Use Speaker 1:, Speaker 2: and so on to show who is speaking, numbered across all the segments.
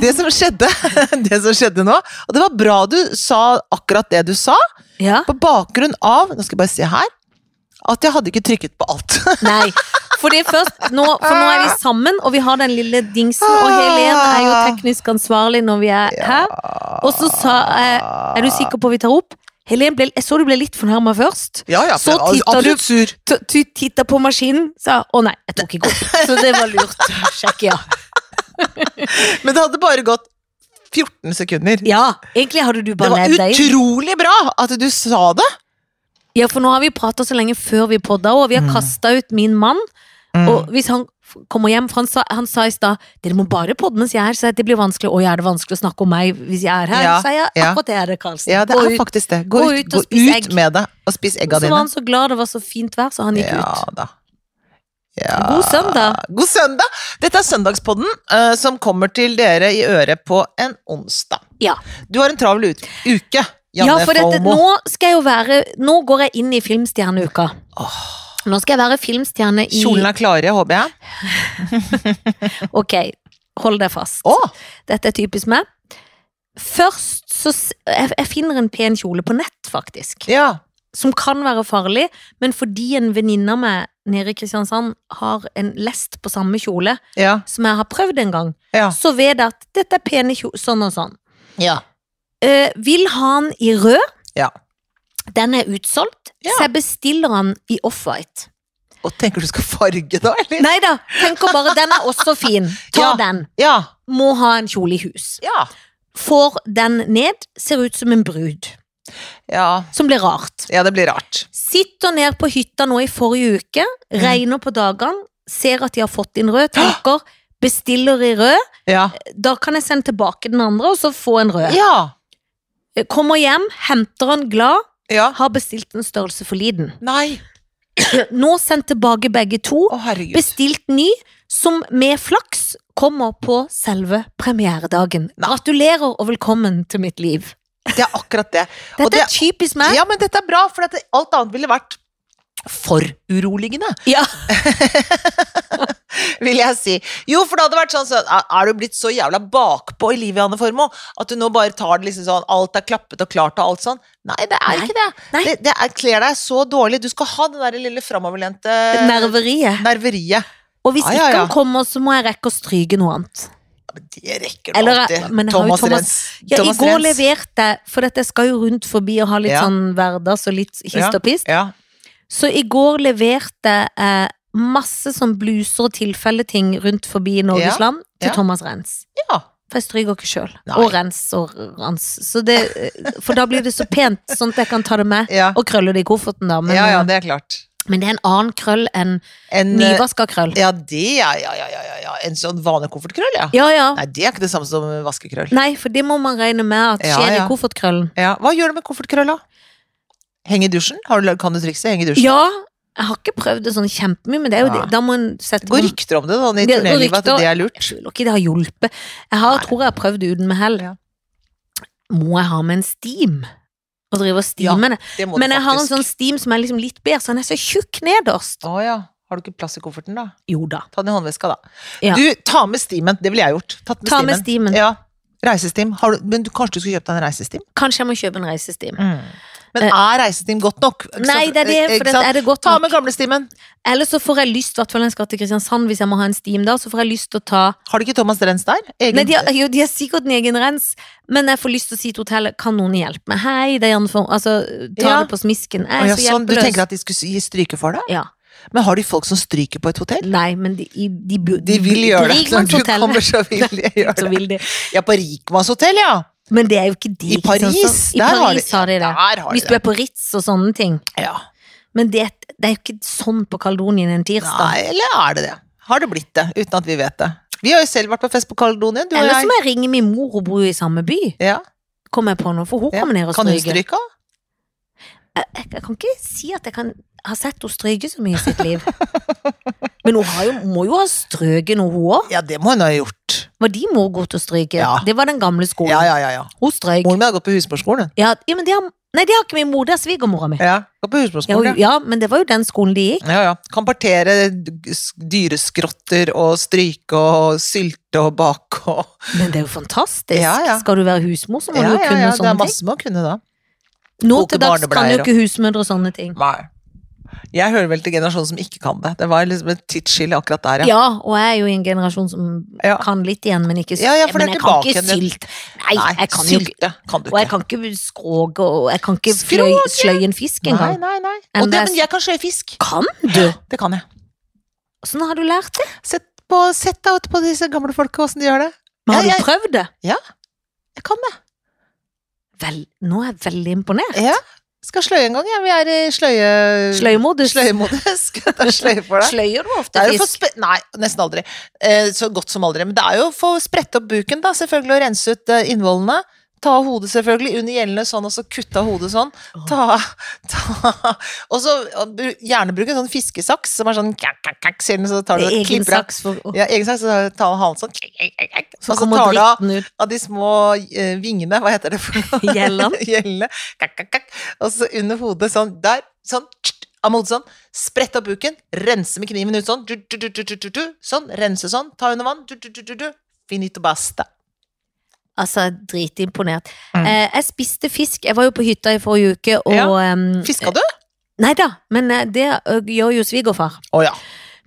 Speaker 1: Det som skjedde, det som skjedde nå Og det var bra du sa akkurat det du sa,
Speaker 2: Ja.
Speaker 1: på bakgrunn av Nå skal jeg bare se her. At jeg hadde ikke trykket på alt.
Speaker 2: Nei. Fordi først, nå, for nå er vi sammen, og vi har den lille dingsen. Og Helen er jo teknisk ansvarlig når vi er her. Og så sa jeg Eh, Er du sikker på vi tar opp? Helen ble, jeg så du ble litt fornærma først.
Speaker 1: Ja, ja,
Speaker 2: Så
Speaker 1: for jeg
Speaker 2: titter
Speaker 1: var
Speaker 2: du-
Speaker 1: absolutt sur.
Speaker 2: T- Du titta på maskinen, sa å nei, jeg tok ikke opp. Så det var lurt. Sjekk, ja.
Speaker 1: Men det hadde bare gått 14 sekunder.
Speaker 2: Ja, egentlig hadde du
Speaker 1: Det
Speaker 2: bare
Speaker 1: var
Speaker 2: ledd deg inn.
Speaker 1: utrolig bra at du sa det.
Speaker 2: Ja, for nå har vi prata så lenge før vi podda, og vi har
Speaker 1: Mm.
Speaker 2: kasta ut min mann.
Speaker 1: Mm.
Speaker 2: Og hvis han f- kommer hjem, for han sa, han sa i stad Dere må bare podde mens jeg er her, så det blir vanskelig. Å, ja, er det vanskelig å snakke om meg hvis jeg er her?
Speaker 1: Ja,
Speaker 2: Så jeg,
Speaker 1: ja.
Speaker 2: akkurat det er det, Karlsen.
Speaker 1: Ja, det
Speaker 2: Gå
Speaker 1: er
Speaker 2: ut.
Speaker 1: faktisk det. Gå, ut,
Speaker 2: Gå ut
Speaker 1: gå
Speaker 2: og spis
Speaker 1: ut
Speaker 2: egg.
Speaker 1: med det, og spis egga
Speaker 2: Så var
Speaker 1: dine.
Speaker 2: han så glad det var så fint vær, så han gikk
Speaker 1: Ja
Speaker 2: ut.
Speaker 1: da. Ja.
Speaker 2: God søndag.
Speaker 1: God søndag! Dette er Søndagspodden, eh, som kommer til dere i øret på en onsdag.
Speaker 2: Ja.
Speaker 1: Du har en travel ut uke, Janne
Speaker 2: Ja, for dette,
Speaker 1: Folmo.
Speaker 2: nå skal jeg jo være Nå går jeg inn i Filmstjerneuka. Nå skal jeg være filmstjerne i
Speaker 1: Kjolene er klare, håper jeg.
Speaker 2: Ok, hold deg fast.
Speaker 1: Å!
Speaker 2: Dette er typisk meg. Først så s- jeg, jeg finner en pen kjole på nett, faktisk.
Speaker 1: Ja.
Speaker 2: Som kan være farlig, men fordi en venninne av meg nede i Kristiansand har en lest på samme kjole,
Speaker 1: Ja.
Speaker 2: som jeg har prøvd en gang,
Speaker 1: Ja.
Speaker 2: så vet jeg at dette er pene kjole, sånn og sånn.
Speaker 1: ja.
Speaker 2: Eh, vil ha den i rød.
Speaker 1: Ja.
Speaker 2: Den er utsolgt,
Speaker 1: Ja.
Speaker 2: så jeg bestiller den i offwhite.
Speaker 1: Og tenker du skal farge da, eller?
Speaker 2: Nei da, tenker bare den er også fin. Ta
Speaker 1: Ja.
Speaker 2: den.
Speaker 1: Ja.
Speaker 2: Må ha en kjole i hus.
Speaker 1: Ja.
Speaker 2: Får den ned, ser ut som en brud.
Speaker 1: Ja.
Speaker 2: Som blir rart.
Speaker 1: Ja, det blir rart.
Speaker 2: Sitter ned på hytta nå i forrige uke,
Speaker 1: Mhm.
Speaker 2: regner på dagene, ser at de har fått inn rød, tenker bestiller i rød,
Speaker 1: Ja.
Speaker 2: da kan jeg sende tilbake den andre og så få en rød.
Speaker 1: Ja.
Speaker 2: Kommer hjem, henter den glad,
Speaker 1: ja.
Speaker 2: har bestilt en størrelse for liten.
Speaker 1: Nei.
Speaker 2: Nå sendt tilbake begge to,
Speaker 1: Å, herregud.
Speaker 2: bestilt ny, som med flaks kommer på selve premieredagen. Gratulerer og velkommen til mitt liv.
Speaker 1: Det er akkurat det. Og
Speaker 2: Dette
Speaker 1: det-
Speaker 2: er typisk meg.
Speaker 1: Ja, men dette er bra, for dette, alt annet ville vært for uroligende,
Speaker 2: Ja.
Speaker 1: vil jeg si. Jo, for det hadde vært sånn så er du blitt så jævla bakpå i livet, Anne Formoe, at du nå bare tar det liksom sånn, alt er klappet og klart og alt sånn. Nei, det er
Speaker 2: Nei.
Speaker 1: ikke det.
Speaker 2: Nei.
Speaker 1: Det, det er, kler deg så dårlig. Du skal ha det der lille framoverlente
Speaker 2: Nerveriet.
Speaker 1: nerveriet.
Speaker 2: Og hvis
Speaker 1: Ja,
Speaker 2: ikke
Speaker 1: ja, ja.
Speaker 2: han kommer, så må jeg rekke å stryke noe annet.
Speaker 1: Ja, men det rekker du
Speaker 2: Eller-
Speaker 1: alltid.
Speaker 2: men jeg har jo
Speaker 1: Thomas,
Speaker 2: Thomas-
Speaker 1: Rens.
Speaker 2: Ja, I
Speaker 1: Thomas
Speaker 2: går
Speaker 1: Rens.
Speaker 2: leverte jeg, for dette jeg skal jo rundt forbi og ha litt
Speaker 1: Ja.
Speaker 2: sånn hverdags og litt hist og pist.
Speaker 1: Ja.
Speaker 2: Så i går leverte jeg eh, masse sånn bluser og tilfelleting rundt forbi
Speaker 1: Ja.
Speaker 2: Norges land til
Speaker 1: Ja.
Speaker 2: Thomas Rens.
Speaker 1: ja.
Speaker 2: For jeg stryker ikke sjøl.
Speaker 1: Nei.
Speaker 2: Og rens og rans. Så det, eh, for da blir det så pent, sånn at jeg kan ta det med.
Speaker 1: Ja.
Speaker 2: Og krølle det i kofferten, da. Men, eh,
Speaker 1: ja, ja, det er klart.
Speaker 2: men det er en annen krøll enn
Speaker 1: En,
Speaker 2: nyvaska krøll.
Speaker 1: ja, det er ja, ja, ja, ja, ja. En sånn vanlig koffertkrøll, ja.
Speaker 2: Ja, ja.
Speaker 1: Nei, det er ikke det samme som vaskekrøll.
Speaker 2: Nei, for det må man regne med at
Speaker 1: Ja,
Speaker 2: skjer i
Speaker 1: ja.
Speaker 2: koffertkrøllen.
Speaker 1: Ja. Hva gjør du med koffertkrølla? Heng i dusjen? Har du, lag- kan du trikset? Heng i dusjen.
Speaker 2: Ja, jeg har ikke prøvd det sånn kjempemye, men det er jo
Speaker 1: Nei.
Speaker 2: det. Da må en sette
Speaker 1: Det går rykter om det sånn, i
Speaker 2: Mm. Det går
Speaker 1: turnélivet
Speaker 2: rykter.
Speaker 1: at det er
Speaker 2: Jeg
Speaker 1: lurt.
Speaker 2: skjuler ikke, det har hjulpet. Jeg har, tror jeg har prøvd uten med hell.
Speaker 1: Ja.
Speaker 2: Må jeg ha med en steam? Og drive og
Speaker 1: Ja,
Speaker 2: steame det.
Speaker 1: Det må
Speaker 2: Men
Speaker 1: du
Speaker 2: jeg har en
Speaker 1: faktisk.
Speaker 2: sånn steam som er liksom litt bedre, så den er så tjukk nederst.
Speaker 1: Å ja. Har du ikke plass i kofferten, da?
Speaker 2: Jo da.
Speaker 1: Ta den i håndveska, da.
Speaker 2: Ja.
Speaker 1: Du, ta med steamen. Det ville jeg gjort. Tatt med
Speaker 2: Ta med
Speaker 1: steamen.
Speaker 2: steamen.
Speaker 1: Ja. Reisesteam. Har du, men du, kanskje du skulle kjøpt deg en reisesteam?
Speaker 2: Kanskje jeg må kjøpe en reisesteam.
Speaker 1: Men er reisesteam godt nok? Ikke
Speaker 2: Mm. Eh. Nei,
Speaker 1: sant?
Speaker 2: det er det,
Speaker 1: Eh, ikke
Speaker 2: for det
Speaker 1: sant?
Speaker 2: er det godt
Speaker 1: Ta
Speaker 2: nok.
Speaker 1: med gamle steamen.
Speaker 2: Eller så får jeg lyst, i hvert fall når jeg skal til Kristiansand, hvis jeg må ha en steam da, så får jeg lyst til å ta
Speaker 1: Har du ikke Thomas Drens der? Egen-
Speaker 2: Nei, de har, jo, de har sikkert en egen rens, men jeg får lyst til å si til hotellet Kan noen hjelpe meg? Hei, det er Janne Form. Altså, ta
Speaker 1: Ja.
Speaker 2: det på
Speaker 1: Å,
Speaker 2: smisken. Jeg
Speaker 1: ja,
Speaker 2: er så
Speaker 1: sånn, du
Speaker 2: hjelpeløs.
Speaker 1: tenker at de skulle gi stryke for deg?
Speaker 2: Ja.
Speaker 1: Men har de folk som stryker på et hotell?
Speaker 2: Nei, men de, i- de, bu-
Speaker 1: De vil gjøre det. Når du
Speaker 2: Rikmannshotellet,
Speaker 1: kommer, så vil de gjøre
Speaker 2: så
Speaker 1: det.
Speaker 2: vil de.
Speaker 1: Ja, på rikmannshotell, ja.
Speaker 2: Men det er jo ikke de.
Speaker 1: I
Speaker 2: ikke sant,
Speaker 1: Paris,
Speaker 2: så- I
Speaker 1: der har de,
Speaker 2: Paris har de det.
Speaker 1: Der har de
Speaker 2: Hvis du
Speaker 1: det.
Speaker 2: er på Ritz og sånne ting.
Speaker 1: Ja.
Speaker 2: Men det, det er jo ikke sånn på Kaledonien en
Speaker 1: Nei,
Speaker 2: tirsdag.
Speaker 1: eller er det det? Har det blitt det, uten at vi vet det? Vi har jo selv vært på fest på Kaledonien, du og
Speaker 2: Eller så
Speaker 1: jeg.
Speaker 2: må jeg ringe min mor, hun bor jo i samme by.
Speaker 1: Ja,
Speaker 2: Kommer jeg på nå, for hun
Speaker 1: ja.
Speaker 2: kommer ned og
Speaker 1: Kan hun
Speaker 2: stryker.
Speaker 1: stryke òg?
Speaker 2: Jeg, jeg, jeg kan ikke si at jeg kan ha sett henne stryke så mye i sitt liv. Men hun har jo, må jo ha strøket noe, hun òg.
Speaker 1: Ja, det må hun ha gjort.
Speaker 2: Var de mor god til å stryke?
Speaker 1: Ja.
Speaker 2: Det var den gamle skolen.
Speaker 1: Ja, ja, ja. ja.
Speaker 2: Hun strøyk.
Speaker 1: Moren min har gått på husmorskolen.
Speaker 2: Ja, ja, men det har Nei, det har ikke min mor, det er svigermora mi.
Speaker 1: Ja, Gå på
Speaker 2: Ja,
Speaker 1: husmorskolen, ja.
Speaker 2: ja, men det var jo den skolen de gikk.
Speaker 1: Ja, ja. Kan partere d- s- dyreskrotter og stryke og sylte og bake og
Speaker 2: Men det er jo fantastisk.
Speaker 1: Ja, ja.
Speaker 2: Skal du være husmor, så må
Speaker 1: Ja,
Speaker 2: du jo
Speaker 1: ja,
Speaker 2: kunne
Speaker 1: ja. Det er
Speaker 2: sånne ting.
Speaker 1: masse man kunne da.
Speaker 2: Nå
Speaker 1: Koke
Speaker 2: til dags kan
Speaker 1: barnebleier
Speaker 2: jo ikke husmødre sånne ting.
Speaker 1: Nei. Jeg hører vel til generasjonen som ikke kan det. Det var liksom et tidsskille akkurat der, ja.
Speaker 2: Ja, og jeg er jo i en generasjon som
Speaker 1: Ja.
Speaker 2: kan litt igjen, men ikke sylt.
Speaker 1: Ja, ja, for
Speaker 2: men
Speaker 1: det er
Speaker 2: jeg kan
Speaker 1: tilbake
Speaker 2: ikke
Speaker 1: igjen, det-
Speaker 2: sylt. Nei, jeg kan jo ikke
Speaker 1: sylte kan du
Speaker 2: Og jeg
Speaker 1: ikke.
Speaker 2: kan ikke skroge, og jeg kan ikke fløy,
Speaker 1: Skroge?
Speaker 2: sløye en fisk
Speaker 1: Nei,
Speaker 2: engang.
Speaker 1: nei, nei.
Speaker 2: Enn
Speaker 1: Og det,
Speaker 2: det er
Speaker 1: men
Speaker 2: s-
Speaker 1: jeg kan sløye fisk.
Speaker 2: Kan du?
Speaker 1: Det kan jeg.
Speaker 2: Åssen har du lært det?
Speaker 1: Sett, på, sett deg ut på disse gamle folka, åssen de gjør det.
Speaker 2: Men har
Speaker 1: Ja, jeg-
Speaker 2: du prøvd det?
Speaker 1: Jeg kan det.
Speaker 2: Vel, nå er jeg veldig imponert.
Speaker 1: Ja. Skal sløye en gang, jeg. Vi er i sløye...
Speaker 2: Sløymodus.
Speaker 1: Sløyemodus. Skal jeg ta sløye for deg?
Speaker 2: Sløyer du
Speaker 1: Det
Speaker 2: ofte
Speaker 1: er jo for
Speaker 2: fisk?
Speaker 1: spe Nei, nesten aldri. Eh, så godt som aldri. Men det er jo for å sprette opp buken, da, selvfølgelig, og rense ut eh, innvollene. Ta av hodet selvfølgelig under gjellene sånn, og så kutte av hodet sånn. Ta, ta. Og så og bru- gjerne bruke en sånn fiskesaks som er sånn kakk, kakk, kakk, siden så tar du
Speaker 2: Det er
Speaker 1: og
Speaker 2: egen
Speaker 1: klipper av.
Speaker 2: saks for å-
Speaker 1: Ja, egen saks, så tar du halen sånn, kakk, kakk, kakk, kakk.
Speaker 2: Så
Speaker 1: og så
Speaker 2: kommer
Speaker 1: tar du av,
Speaker 2: dritten ut.
Speaker 1: av de små eh, vingene, hva heter det for noe?
Speaker 2: Gjellene.
Speaker 1: Gjellene. Kakk, kakk, kakk. Og så under hodet sånn, der, sånn, tsk, av hodet sånn. Sprett opp buken, rense med kniven ut sånn. Du, du, du, du, du, du, du. Sånn, rense sånn, ta under vann. Du, du, du, du, du. Finito basta.
Speaker 2: Altså, jeg er dritimponert.
Speaker 1: Mm.
Speaker 2: Eh, jeg spiste fisk. Jeg var jo på hytta i forrige uke, og
Speaker 1: Ja.
Speaker 2: em,
Speaker 1: Fiska du?
Speaker 2: Nei da, men eh, det ø, gjør jo svigerfar.
Speaker 1: Å ja.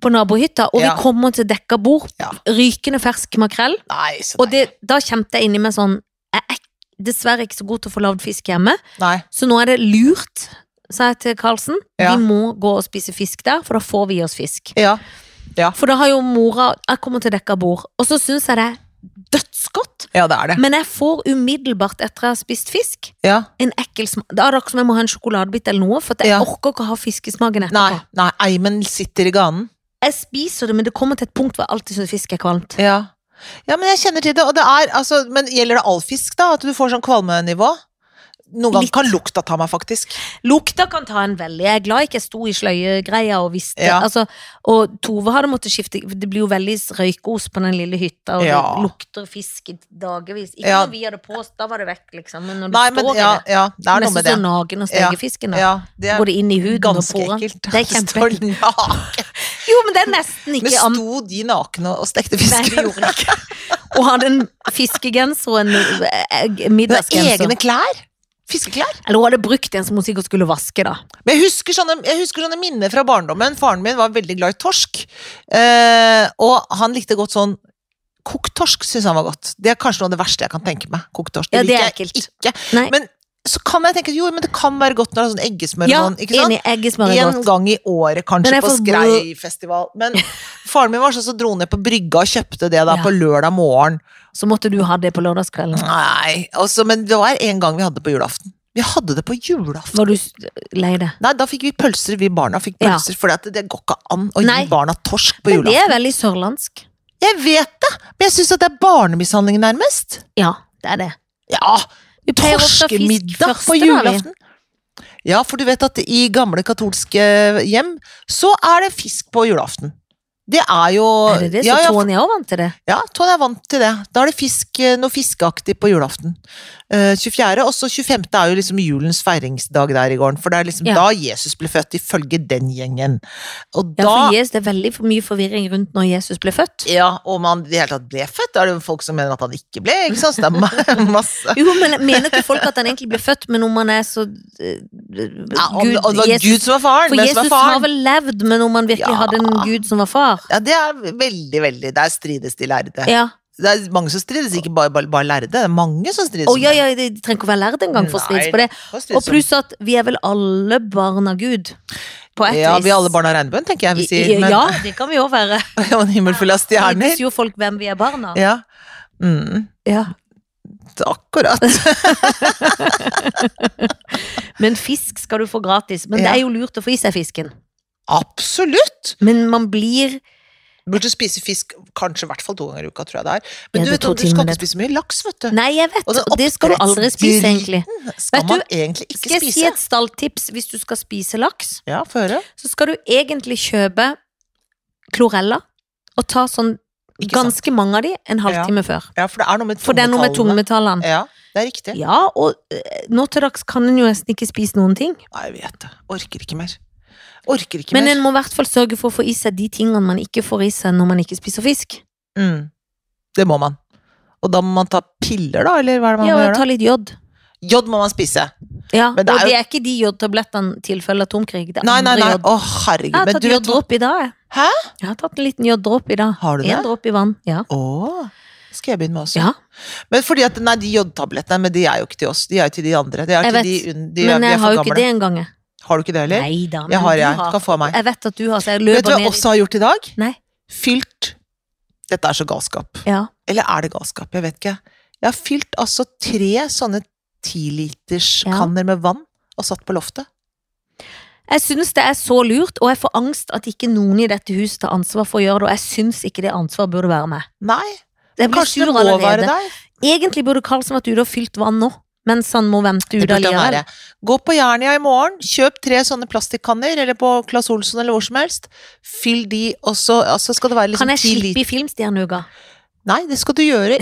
Speaker 2: På nabohytta. Og
Speaker 1: Ja.
Speaker 2: vi kommer til dekka bord.
Speaker 1: Ja.
Speaker 2: Rykende fersk makrell.
Speaker 1: Nei, så
Speaker 2: Og
Speaker 1: deilig.
Speaker 2: det, da kjente jeg inni meg sånn Jeg er ikk- dessverre ikke så god til å få lagd fisk hjemme,
Speaker 1: Nei.
Speaker 2: så nå er det lurt, sa jeg til Karlsen.
Speaker 1: Ja.
Speaker 2: Vi må gå og spise fisk der, for da får vi oss fisk.
Speaker 1: Ja.
Speaker 2: For da har jo mora Jeg kommer til dekka bord, og så syns jeg det er dødsgodt.
Speaker 1: ja, det er det.
Speaker 2: Men jeg får umiddelbart etter jeg har spist fisk,
Speaker 1: Ja.
Speaker 2: en ekkel smak. Det er akkurat som jeg må ha en sjokoladebit eller noe, for at jeg
Speaker 1: Ja.
Speaker 2: orker ikke å ha fiskesmaken
Speaker 1: Nei,
Speaker 2: etterpå.
Speaker 1: nei, eimen sitter i ganen.
Speaker 2: Jeg spiser det, men det kommer til et punkt hvor jeg alltid syns fisk er kvalmt.
Speaker 1: Ja. ja, men jeg kjenner til det. Og det er, altså, men gjelder det all fisk, da? At du får sånn kvalmenivå? Noen ganger
Speaker 2: Litt.
Speaker 1: kan lukta ta meg, faktisk.
Speaker 2: Lukta kan ta en veldig. Jeg er glad ikke jeg sto i sløyegreia og visste
Speaker 1: Ja.
Speaker 2: altså, Og Tove hadde måttet skifte for Det blir jo veldig røykos på den lille hytta, og
Speaker 1: Ja.
Speaker 2: det lukter fisk i dagevis. Ikke
Speaker 1: Ja.
Speaker 2: når vi hadde på oss, da var det vekk, liksom. Men når du
Speaker 1: Nei,
Speaker 2: står
Speaker 1: men
Speaker 2: i
Speaker 1: ja,
Speaker 2: det,
Speaker 1: ja, det er
Speaker 2: nesten
Speaker 1: noe med det.
Speaker 2: så nagen å
Speaker 1: Ja.
Speaker 2: steke fisken. Da.
Speaker 1: Ja, det er
Speaker 2: Går det inn i huden og
Speaker 1: ganske
Speaker 2: porene?
Speaker 1: ekkelt. altså,
Speaker 2: Det er kjempe...
Speaker 1: Står naken.
Speaker 2: Jo, men det er nesten
Speaker 1: Men
Speaker 2: ikke am...
Speaker 1: sto de nakne og stekte
Speaker 2: Nei,
Speaker 1: fisk?
Speaker 2: det gjorde det ikke. Og hadde en fiskegenser og en eh, eh,
Speaker 1: Hun har
Speaker 2: middagsgenser.
Speaker 1: egne klær? Fiskeklær?
Speaker 2: Eller hun hadde brukt en som hun sikkert skulle vaske, da.
Speaker 1: Men jeg husker, sånne, jeg husker sånne minner fra barndommen. Faren min var veldig glad i torsk. Eh, og han likte godt sånn Kokt torsk syns han var godt. Det er kanskje noe av det verste jeg kan tenke meg. Kokt torsk.
Speaker 2: Ja, det
Speaker 1: liker
Speaker 2: er
Speaker 1: jeg
Speaker 2: ekkelt.
Speaker 1: ikke.
Speaker 2: Nei.
Speaker 1: Men så kan jeg tenke at jo, men det kan være godt når det er sånn eggesmør
Speaker 2: ja,
Speaker 1: og sånn. ikke sant?
Speaker 2: enig. Eggesmør er
Speaker 1: En
Speaker 2: godt.
Speaker 1: gang i året,
Speaker 2: Men
Speaker 1: kanskje,
Speaker 2: jeg
Speaker 1: på
Speaker 2: får
Speaker 1: Skreifestival. Men faren min var sånn som dro ned på brygga og kjøpte det da
Speaker 2: Ja.
Speaker 1: på lørdag morgen.
Speaker 2: Så måtte du ha det på lørdagskvelden.
Speaker 1: Nei, altså, men det var en gang vi hadde det på julaften. Vi hadde det på julaften.
Speaker 2: Var du s- lei det?
Speaker 1: Nei, da fikk vi pølser, vi barna fikk
Speaker 2: Ja.
Speaker 1: pølser, for det, det går ikke an å
Speaker 2: Nei.
Speaker 1: gi barna torsk på
Speaker 2: Men det
Speaker 1: julaften.
Speaker 2: er veldig sørlandsk.
Speaker 1: Jeg vet det, men jeg syns at det er barnemishandling nærmest.
Speaker 2: Ja, det er det.
Speaker 1: Ja,
Speaker 2: Vi pleier ofte å ha fisk
Speaker 1: torskemiddag på
Speaker 2: første da, vi.
Speaker 1: julaften. Ja, for du vet at i gamle katolske hjem, så er det fisk på julaften. Det er jo
Speaker 2: Er det det? Så
Speaker 1: Ja, ja,
Speaker 2: Tony er også vant til det.
Speaker 1: Ja, Tony er vant til det. Da er det fisk, eh, noe fiskeaktig på julaften. Eh, 24. Og så 25. er jo liksom julens feiringsdag der i gården. For det er liksom
Speaker 2: Ja.
Speaker 1: da Jesus ble født, ifølge den gjengen. Og
Speaker 2: Ja, for
Speaker 1: da
Speaker 2: Jesus, det er veldig for mye forvirring rundt når Jesus ble født.
Speaker 1: Ja, om han i det hele tatt ble født. Da er det jo folk som mener at han ikke ble, ikke sant. Så det er ma- masse
Speaker 2: Jo, men mener ikke folk at han egentlig ble født, men om han er så eh,
Speaker 1: ja, om,
Speaker 2: Gud-
Speaker 1: om det var Gud som var faren,
Speaker 2: For
Speaker 1: hvem som
Speaker 2: Jesus
Speaker 1: var
Speaker 2: har
Speaker 1: faren?
Speaker 2: vel levd, men om han virkelig
Speaker 1: Ja.
Speaker 2: hadde en gud som var far?
Speaker 1: Ja, det er veldig, veldig Der strides de lærde.
Speaker 2: Ja.
Speaker 1: Det er mange som strides, ikke bare, bare, bare lærde. Det er mange som strides.
Speaker 2: Å
Speaker 1: om
Speaker 2: ja,
Speaker 1: det.
Speaker 2: ja, de trenger ikke å være lærd engang for å strides
Speaker 1: Nei,
Speaker 2: på det.
Speaker 1: det sånn kan strides
Speaker 2: Og
Speaker 1: om.
Speaker 2: pluss at vi er vel alle barn av Gud, på et
Speaker 1: Ja,
Speaker 2: vis.
Speaker 1: vi er alle barn av regnbuen, tenker jeg vi sier.
Speaker 2: I- i-
Speaker 1: men-
Speaker 2: Ja, det kan vi òg være.
Speaker 1: Og en himmel full av
Speaker 2: Det
Speaker 1: stjerner.
Speaker 2: jo folk hvem vi er barn av.
Speaker 1: Ja. Mm,
Speaker 2: Ja.
Speaker 1: akkurat.
Speaker 2: Men fisk skal du få gratis. Men
Speaker 1: Ja.
Speaker 2: det er jo lurt å få i seg fisken.
Speaker 1: Absolutt!
Speaker 2: Men man blir
Speaker 1: Burde spise fisk kanskje i hvert fall to ganger i uka, tror jeg det er. Men du
Speaker 2: Ja, det er
Speaker 1: vet,
Speaker 2: to
Speaker 1: du skal
Speaker 2: timer,
Speaker 1: ikke
Speaker 2: det.
Speaker 1: spise mye laks, vet du.
Speaker 2: Nei, jeg vet,
Speaker 1: Og den
Speaker 2: og det skal du aldri spise, egentlig.
Speaker 1: oppdrettsdriten Skal
Speaker 2: Vet du,
Speaker 1: man egentlig ikke
Speaker 2: Skal jeg
Speaker 1: spise?
Speaker 2: si et stalltips hvis du skal spise laks?
Speaker 1: Ja, få høre.
Speaker 2: Så skal du egentlig kjøpe klorella og ta sånn
Speaker 1: Ikke sant?
Speaker 2: ganske mange av de en halvtime før.
Speaker 1: Ja, for det er noe med
Speaker 2: For det er noe med
Speaker 1: tungetallene.
Speaker 2: tungmetallene.
Speaker 1: Ja. Det er riktig.
Speaker 2: Ja, og eh, nå til dags kan en jo nesten ikke spise noen ting.
Speaker 1: Nei, jeg vet det. Orker ikke mer. Orker ikke
Speaker 2: Men
Speaker 1: mer.
Speaker 2: en må i hvert fall sørge for å få i seg de tingene man ikke får i seg når man ikke spiser fisk.
Speaker 1: Mm. Det må man. Og da må man ta piller, da? Eller hva er det man
Speaker 2: Ja,
Speaker 1: må
Speaker 2: og
Speaker 1: gjøre?
Speaker 2: ta litt jod.
Speaker 1: da? Jod må man spise.
Speaker 2: Ja,
Speaker 1: Men det er
Speaker 2: og
Speaker 1: jo-
Speaker 2: det er ikke de jodtablettene tilfellet atomkrig. Det er
Speaker 1: Nei, nei,
Speaker 2: andre
Speaker 1: nei.
Speaker 2: jod.
Speaker 1: Å, herregud.
Speaker 2: Jeg har
Speaker 1: Men
Speaker 2: tatt
Speaker 1: du vet hva-
Speaker 2: joddråp i dag. jeg.
Speaker 1: Hæ?
Speaker 2: Jeg har tatt en liten joddråp i dag.
Speaker 1: Har du det?
Speaker 2: En dråp i vann. Ja.
Speaker 1: Å, skal jeg begynne med også?
Speaker 2: ja.
Speaker 1: Men fordi at, nei, de jodtablettene, men de er jo ikke til oss. De er jo til de andre. De er til
Speaker 2: Jeg vet,
Speaker 1: de, un- de, er-
Speaker 2: Men
Speaker 1: vi er
Speaker 2: jeg
Speaker 1: for
Speaker 2: har jo ikke
Speaker 1: gamle.
Speaker 2: det engang. jeg.
Speaker 1: Har du ikke det heller?
Speaker 2: Nei da. men
Speaker 1: Jeg har,
Speaker 2: du
Speaker 1: jeg. Du kan få av meg.
Speaker 2: Jeg vet at du har, så jeg
Speaker 1: Vet du
Speaker 2: løper
Speaker 1: hva
Speaker 2: ned.
Speaker 1: jeg også har gjort i dag?
Speaker 2: Nei.
Speaker 1: Fylt Dette er så galskap.
Speaker 2: Ja.
Speaker 1: Eller er det galskap? Jeg vet ikke. Jeg har fylt altså tre sånne tiliterskanner med vann og satt på loftet.
Speaker 2: Jeg syns det er så lurt, og jeg får angst at ikke noen i dette huset tar ansvar for å gjøre det, og jeg syns ikke det ansvaret burde være meg.
Speaker 1: Nei,
Speaker 2: Jeg blir
Speaker 1: kanskje det
Speaker 2: sur
Speaker 1: må være
Speaker 2: allerede.
Speaker 1: deg.
Speaker 2: Egentlig burde Karlsen vært ute og fylt vann nå, mens han må vente
Speaker 1: Det
Speaker 2: ut
Speaker 1: burde han være.
Speaker 2: allikevel.
Speaker 1: Gå på Jernia i morgen, kjøp tre sånne plastikkanner, eller på Claes Olsson eller hvor som helst. Fyll de, og så altså skal det være liksom
Speaker 2: Kan jeg
Speaker 1: ti
Speaker 2: slippe
Speaker 1: liter
Speaker 2: i filmstjerneuka?
Speaker 1: Nei, det skal du gjøre.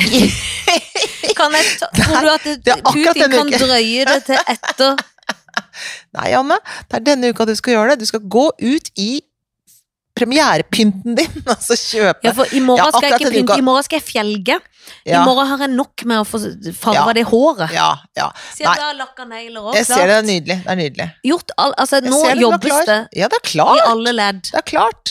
Speaker 2: Kan jeg ta, tror du at det,
Speaker 1: det er akkurat
Speaker 2: Putin
Speaker 1: denne
Speaker 2: kan
Speaker 1: uken.
Speaker 2: drøye det til etter
Speaker 1: Nei, Anne, det er denne uka du skal gjøre det. Du skal gå ut i premierepynten din, og så
Speaker 2: Ja,
Speaker 1: kjøpe.
Speaker 2: for i morgen
Speaker 1: Ja,
Speaker 2: skal jeg
Speaker 1: akkurat
Speaker 2: ikke
Speaker 1: denne uka.
Speaker 2: pynte, i morgen skal jeg fjelge. I
Speaker 1: Ja,
Speaker 2: morgen har jeg nok med å få farga
Speaker 1: Ja.
Speaker 2: det håret.
Speaker 1: ja. ja.
Speaker 2: Siden
Speaker 1: Nei.
Speaker 2: da har jeg lakka negler
Speaker 1: Jeg ser det, det er
Speaker 2: òg.
Speaker 1: nydelig. Det er nydelig.
Speaker 2: Gjort all, altså,
Speaker 1: Jeg
Speaker 2: nå
Speaker 1: ser det, du er
Speaker 2: jobbes
Speaker 1: klar.
Speaker 2: det
Speaker 1: Ja, det er
Speaker 2: i
Speaker 1: klart.
Speaker 2: alle ledd.
Speaker 1: Det er klart.